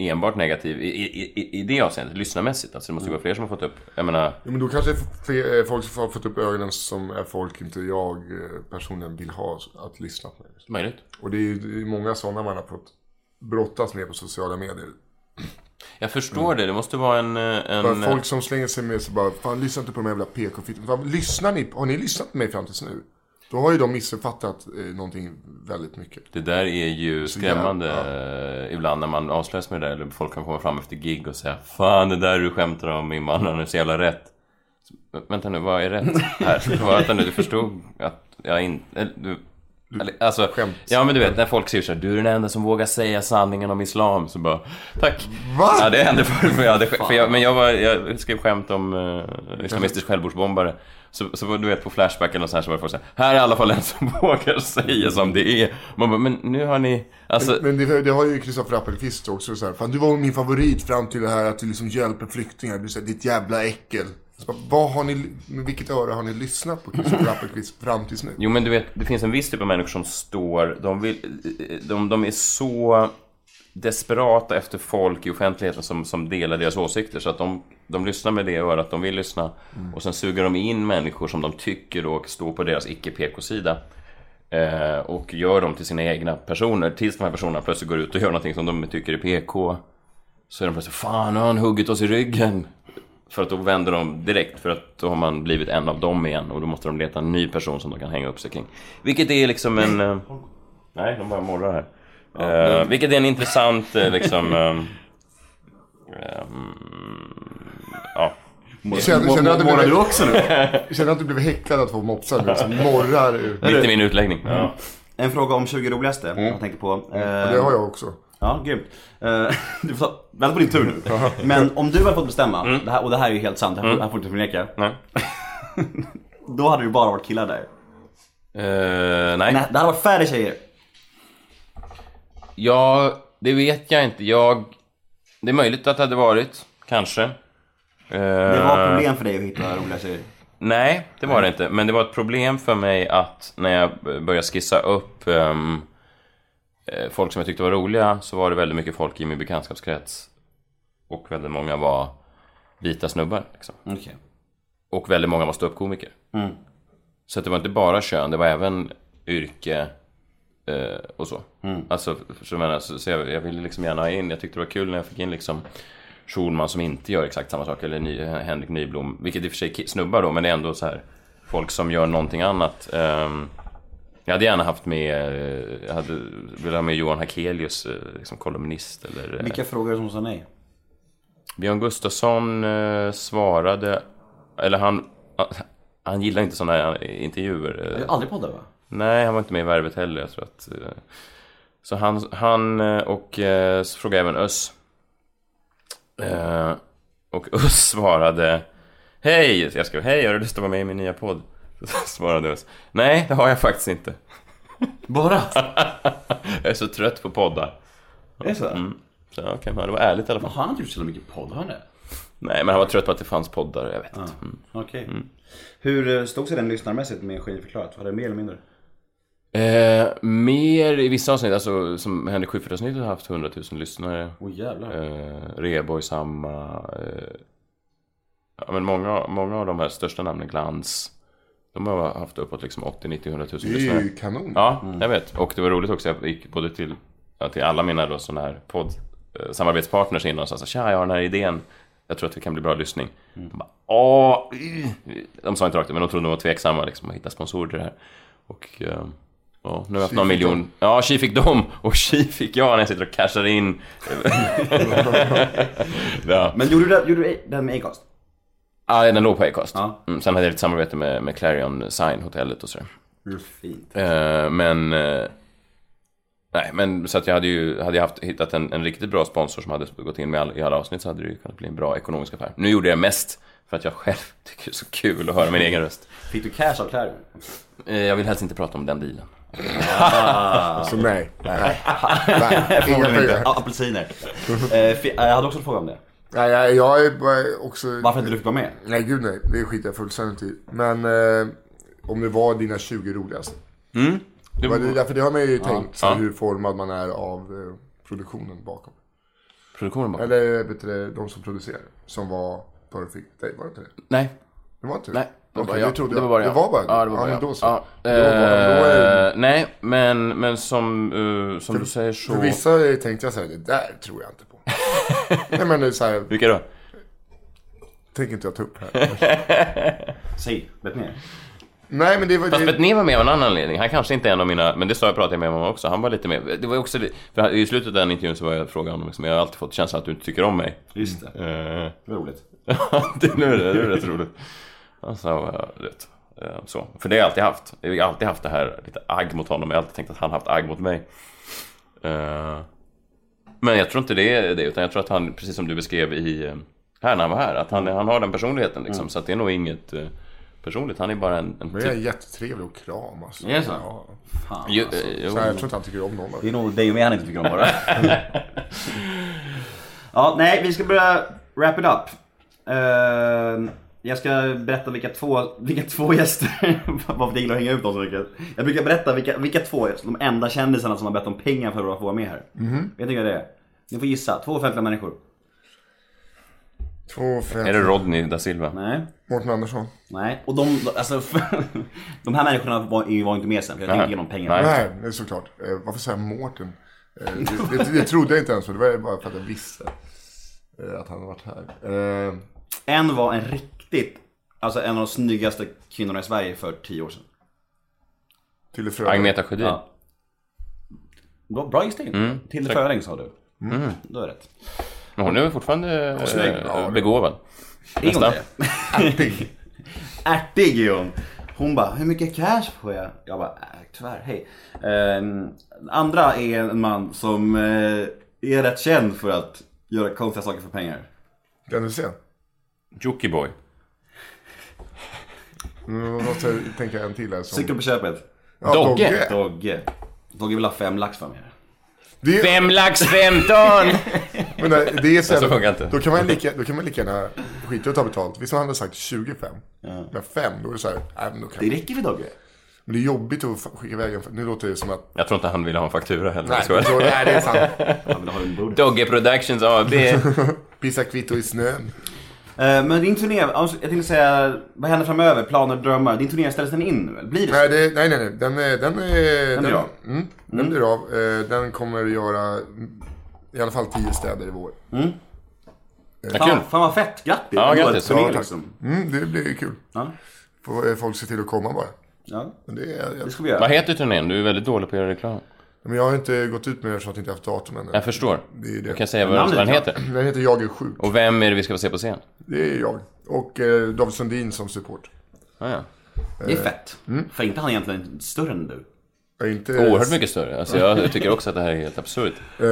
E: eh, enbart negativ i, i, i, i det avseendet, lyssnarmässigt. Alltså det måste ju
D: Mm.
E: vara fler som har fått upp, jag menar,
D: Ja, men då kanske det är fler, eh, folk som har fått upp ögonen som är folk inte jag eh, personligen vill ha att lyssna på.
E: möjligt.
D: Och det är ju det är många sådana man har fått brottas med på sociala medier.
E: Jag förstår det, det måste vara en... eh,
D: Bara
E: en
D: folk som slänger sig med sig bara, fan lyssna inte på de här jävla PK-fittorna. Fan, Lyssnar ni, har ni lyssnat på mig fram tills nu? Då har ju de missuppfattat eh, någonting väldigt mycket.
E: Det där är ju
D: jävla-
E: skrämmande eh, ibland när man avslöjas med det där, eller folk kan komma fram efter gig och säga Fan det där du skämtar om invandrarna är så jävla rätt. Så, Vänta nu, vad är rätt här? Vad- Vänta nu, du förstod att jag inte... eller, Du, eller, alltså,
D: Mm. skämt.
E: ja men du vet när folk säger såhär, du är den enda som vågar säga sanningen om Islam. Så bara, tack.
D: Va?
E: Ja det hände förut, men, jag hade, för jag, men jag, var, jag skrev skämt om eh, islamistisk självmordsbombare. Så, så var- du vet på Flashback eller nåt sånt här så var det folk såhär, här är i alla fall en som vågar säga som det är. Man bara, men nu har ni, alltså,
D: Men det, det har ju Kristoffer Appelqvist också så här, fan du var min favorit fram till det här att du liksom hjälper flyktingar. Du säger ditt jävla äckel. Så bara, vad har ni, med vilket öra har ni lyssnat på Kristoffer Appelqvist fram tills nu?
E: Jo men du vet, det finns en viss typ av människor som står, de, vill, de, de är så desperata efter folk i offentligheten som, som delar deras åsikter så att de, de lyssnar med det örat de vill lyssna och sen suger de in människor som de tycker och står på deras icke-PK-sida eh, och gör dem till sina egna personer tills de här personerna plötsligt går ut och gör någonting som de tycker är PK så är de plötsligt Fan, nu har han huggit oss i ryggen! För att då vänder de direkt, för att då har man blivit en av dem igen och då måste de leta en ny person som de kan hänga upp sig kring. Vilket är liksom en... eh, Nej, de bara morrar här. Eh, Vilket är en intressant eh, liksom... eh, ehm, ja.
D: Känner, känner, att du
C: Målar du
D: blev,
C: också nu?
D: känner att du blev häcklad av två mopsar nu som morrar ut.
E: Mitt i min utläggning.
C: En fråga om 20 roligaste jag tänkte på. Eh,
D: Mm. Det har jag också.
C: Ja, grymt. Eh, du får ta, vänta på din tur nu. Men om du hade fått bestämma, det här, och det här är ju helt sant, det här, det här får du inte förneka.
E: Nej.
C: Då hade det bara varit killar där. Men
E: Eh, nej.
C: Det hade varit färre tjejer.
E: Ja, det vet jag inte. Jag... Det är möjligt att det hade varit. Kanske. Eh,
C: Det var problem för dig att hitta roliga tjejer.
E: Nej, det var det inte. Men det var ett problem för mig att när jag började skissa upp ehm, eh, folk som jag tyckte var roliga så var det väldigt mycket folk i min bekantskapskrets. Och väldigt många var vita snubbar. Liksom.
C: Okej.
E: Och väldigt många var ståuppkomiker. Så att det var inte bara kön, det var även yrke eh, och så. Alltså, så, jag menar, så, så jag, jag ville liksom gärna ha in, jag tyckte det var kul när jag fick in liksom Schulman som inte gör exakt samma sak, eller ny, Henrik Nyblom, vilket i och för sig ki- snubbar då, men det är ändå så här folk som gör någonting annat. Ehm, jag hade gärna haft med, eh, jag hade velat ha med Johan Hakelius, eh, liksom kolumnist eller... eh,
C: Vilka frågor som sa nej?
E: Björn Gustafsson eh, svarade, eller han, han gillar inte sådana här intervjuer.
C: Jag
E: eh.
C: har aldrig poddat va?
E: Nej, han var inte med i Värvet heller. Jag tror att, eh. så han, han eh, och eh, så frågade även Öss. Eh, och Öss svarade, hej, jag skrev hej, har du lust att vara med i min nya podd? Så svarade Öss, nej det har jag faktiskt inte.
C: Bara?
E: Jag är så trött på poddar. Mm.
C: Är det så?
E: Så ja, okej, men det var ärligt i alla fall.
C: Har han inte gjort så jävla mycket podd? Har han det?
E: Nej, men han var trött på att det fanns poddar, jag vet inte.
C: Okej. Hur eh, stod sig den lyssnarmässigt med Geni-förklarat? Var det mer eller mindre?
E: Eh, mer i vissa avsnitt, alltså som Henrik Schyffert-avsnittet har haft 100 000 lyssnare.
C: Åh jävlar.
E: Eh, Rheborg samma. Eh, ja, men många, många av de här största namnen, Glans. De har haft uppåt liksom 80, 90, 100 000
D: Det är
E: lyssnare.
D: ju kanon.
E: Ja, jag vet. Och det var roligt också, jag gick både till, ja, till alla mina då sådana här podd, eh, samarbetspartners innan och sa så här, tja, jag har den här idén. Jag tror att det kan bli bra lyssning. De bara, åh, eh." De sa inte rakt ut, men de trodde de var tveksamma liksom att hitta sponsorer till det här. Och eh, ja, nu har jag haft någon
D: fick
E: miljon.
D: dem.
E: Ja, tji fick dem och tji fick jag när jag sitter och cashar in. ja.
C: Men gjorde du det, gjorde du det med Acast?
E: ja, den låg på Acast.
C: Ja.
E: Mm, sen hade jag lite samarbete med, med Clarion Sign, hotellet och sådär.
C: Mm. Fint.
E: Eh, men... eh, nej, men så att jag hade ju... Hade jag haft, hittat en, en riktigt bra sponsor som hade gått in med all, i alla avsnitt så hade det ju kunnat bli en bra ekonomisk affär. Nu gjorde jag mest för att jag själv tycker det är så kul att höra min egen röst.
C: Fick du cash av Clarion?
E: Eh, jag vill helst inte prata om den dealen.
D: Så Alltså, nej. Nej. nej. Inga pengar.
C: Ja, apelsiner. Eh, fi- eh, jag hade också en fråga om det.
D: Nej, jag, jag är bara också...
C: Varför inte du fick vara med?
D: Nej, gud nej. Det skiter jag fullständigt i. Men eh, om det var dina 20 roligaste.
E: Det
D: Men det, är
E: var,
D: därför det har man ju tänkt, så
E: Ja.
D: hur formad man är av eh, produktionen bakom.
E: produktionen bara...
D: Eller vet du, det, de som producerar, som var Perfect Day, var det inte det?
E: Nej.
D: Det var inte det?
E: Nej. Det var
D: Okej,
E: bara
D: det
E: jag.
D: trodde
E: Det
D: jag.
E: var bara jag.
D: Det var bara du? Ja,
E: Ja, det var bara
D: men
E: jag.
D: då så.
E: Ja,
D: Då var- då är-
E: eh, nej, men, men som, eh, som du säger så...
D: För vissa tänkte jag såhär, det där tror jag inte på. Nej men det är såhär,
E: Vilka då?
D: tänker inte jag ta upp här.
C: Säg, vet ni?
D: Nej men det var...
E: Fast
D: Det,
E: Betnér var med av en annan anledning. Han kanske inte är en av mina... Men det sa jag pratade jag med honom också. Han var lite med. Det var ju också... För I slutet av den intervjun så var jag frågade honom liksom, Jag har alltid fått känslan att du inte tycker om mig.
C: Just det.
E: Eh,
C: Det var roligt.
E: det, nu är det, nu är det rätt roligt. Alltså, eh, rätt. Eh, så. För det har jag alltid haft. Jag har alltid haft det här lite agg mot honom. Jag har alltid tänkt att han haft agg mot mig. Eh, men jag tror inte det är det. Utan jag tror att han, precis som du beskrev i... eh, Här när han var här. Att han, han har den personligheten liksom.
C: Mm.
E: Så att det är nog inget eh, personligt. Han är bara en... typ en
D: men jag är jättetrevlig och kram alltså.
C: Är det så?
D: Ja.
C: Fan.
E: Ju- eh, jo.
D: Så här, jag tror inte han tycker om någon av
C: Det är
D: er.
C: nog dig och mig han inte tycker om bara. ja, nej, vi ska börja wrap it up. Eh, jag ska berätta vilka två, vilka två gäster, varför jag gillar att hänga ut dem så mycket. Jag brukar berätta vilka, vilka två, de enda kändisarna som har bett om pengar för att få vara med här. Vet ni vad det är? Ni får gissa, två offentliga människor.
D: Två,
E: Är det
D: fem,
E: Rodney da Silva?
C: Nej.
D: Mårten Andersson.
C: Nej, och de, alltså, de här människorna var, var inte med sen för jag tänkte
E: Nej.
C: ge dem pengar.
E: Nej.
D: Nej, det är såklart. Eh, varför säger jag Mårten? Eh, det, det, det trodde jag inte ens, för det var ju bara för att jag visste eh, att han hade varit här. Eh,
C: En var en riktigt, alltså en av de snyggaste kvinnorna i Sverige för tio år sedan.
D: till Frölunda.
E: Agneta Sjödin?
C: Ja. Bra, bra gissning. Tilde Fröling sa du. Mm. Du har rätt.
E: Men hon är väl fortfarande
D: snygg.
E: eh,
D: Ja, det-
E: begåvad?
C: Är hon
E: Nästa.
C: det? Ärtig är hon. Hon bara, hur mycket cash får jag? Jag bara, äh, tyvärr, hej. Ehm, andra är en man som eh, är rätt känd för att göra konstiga saker för pengar.
D: Kan du se?
E: Jockiboi.
D: Nu måste jag tänka en till här. Som...
C: Cykel på köpet.
D: Ja,
E: Dogge.
C: Dogge. Dogge vill ha fem lax för mig.
D: Det är,
E: Fem lax 15!
D: men nej, det är så
E: Så
D: här,
E: funkar inte.
D: då, kan man lika, då kan man lika gärna skita i att ta betalt. Visst har han sagt 25? Men 5, då är det så här, nej, men, då kan
C: Det räcker för Dogge.
D: men det är jobbigt att fa- skicka iväg en... Nu låter det som att...
E: Jag tror inte han ville ha en faktura heller.
D: Nej,
E: jag
D: då,
E: skojar.
D: nej det är sant.
C: Han vill ha en bror.
E: Dogge Productions AB.
D: Pissa kvitto i snön.
C: Eh, Men din turné, alltså, jag tänkte säga, vad händer framöver? Planer, drömmar? Din turné, ställs den in nu eller? Blir det så?
D: Nej, det, nej, nej, nej. Den, är- den, är- den,
C: blir av.
D: Mm, den blir av. Eh, Den kommer att göra i alla fall tio städer i vår.
E: Kul.
C: Fan, fan vad fett, grattis!
E: Ja,
C: Det var
E: grattis.
C: ett turné,
E: Ja, tack.
C: liksom.
D: Mm, det blir kul.
C: Ja.
D: Får eh, folk se till att komma bara.
C: Ja,
D: Men det är, jag,
C: det ska vi göra.
E: Vad heter turnén? Du är väldigt dålig på att göra reklam.
D: men jag har inte gått ut med det eftersom att jag inte haft datum ännu.
E: Jag förstår.
D: Det är det.
E: Du kan säga vad
C: Namnet,
E: den
C: ja.
E: heter.
D: Den heter Jag är sjuk.
E: Och vem är det vi ska få se på scen?
D: Det är jag. Och eh, David Sundin som support.
E: Ah, ja.
C: Det är fett.
E: Mm.
C: För inte han egentligen större än du?
D: Jag är inte,
E: Oerhört mycket större. Alltså, jag tycker också att det här är helt absurt.
D: Eh,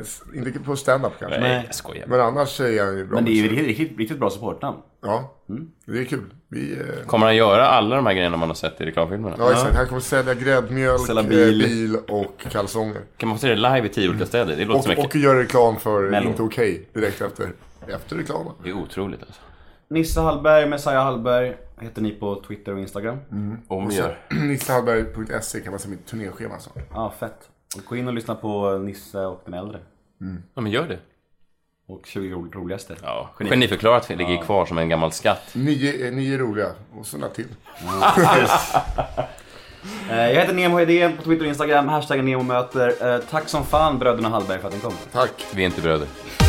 D: s- inte på stand-up kanske.
E: Nej, jag skojar.
D: Men annars är jag ju bra.
C: Men det är ju Mm.
D: med-
C: riktigt, riktigt, riktigt bra supportnamn.
D: Ja, det är kul. Vi, eh,
E: Kommer han göra alla de här grejerna man har sett i reklamfilmerna?
D: ja, exakt. Här kommer sälja gräddmjölk,
C: Sälja
D: eh,
C: bil.
D: bil och kalsonger.
E: Kan man få se det live i tio olika städer? Det låter så
D: Och,
E: mycket.
D: och göra reklam för
C: Mello.
D: Inte Okej direkt efter, efter reklamen.
E: Det är otroligt alltså.
C: Nisse Hallberg, Messiah Hallberg heter ni på Twitter och Instagram.
E: Om vi gör.
D: Nissehallberg.se kan man se E mitt turnéschema. Alltså.
C: Ja, fett. Och gå in och lyssna på Nisse och den äldre.
E: Ja, men gör det.
C: Och 20 ro- roligaste.
E: Ja, geniförklarat ligger kvar som en gammal skatt.
D: Nio, eh, nio roliga och så några till.
C: Eh, Jag heter Nemo Hedén på Twitter och Instagram, hashtaggen NEMOMÖTER. Eh, Tack som fan bröderna Hallberg för att ni kom.
D: Tack.
E: Vi är inte bröder.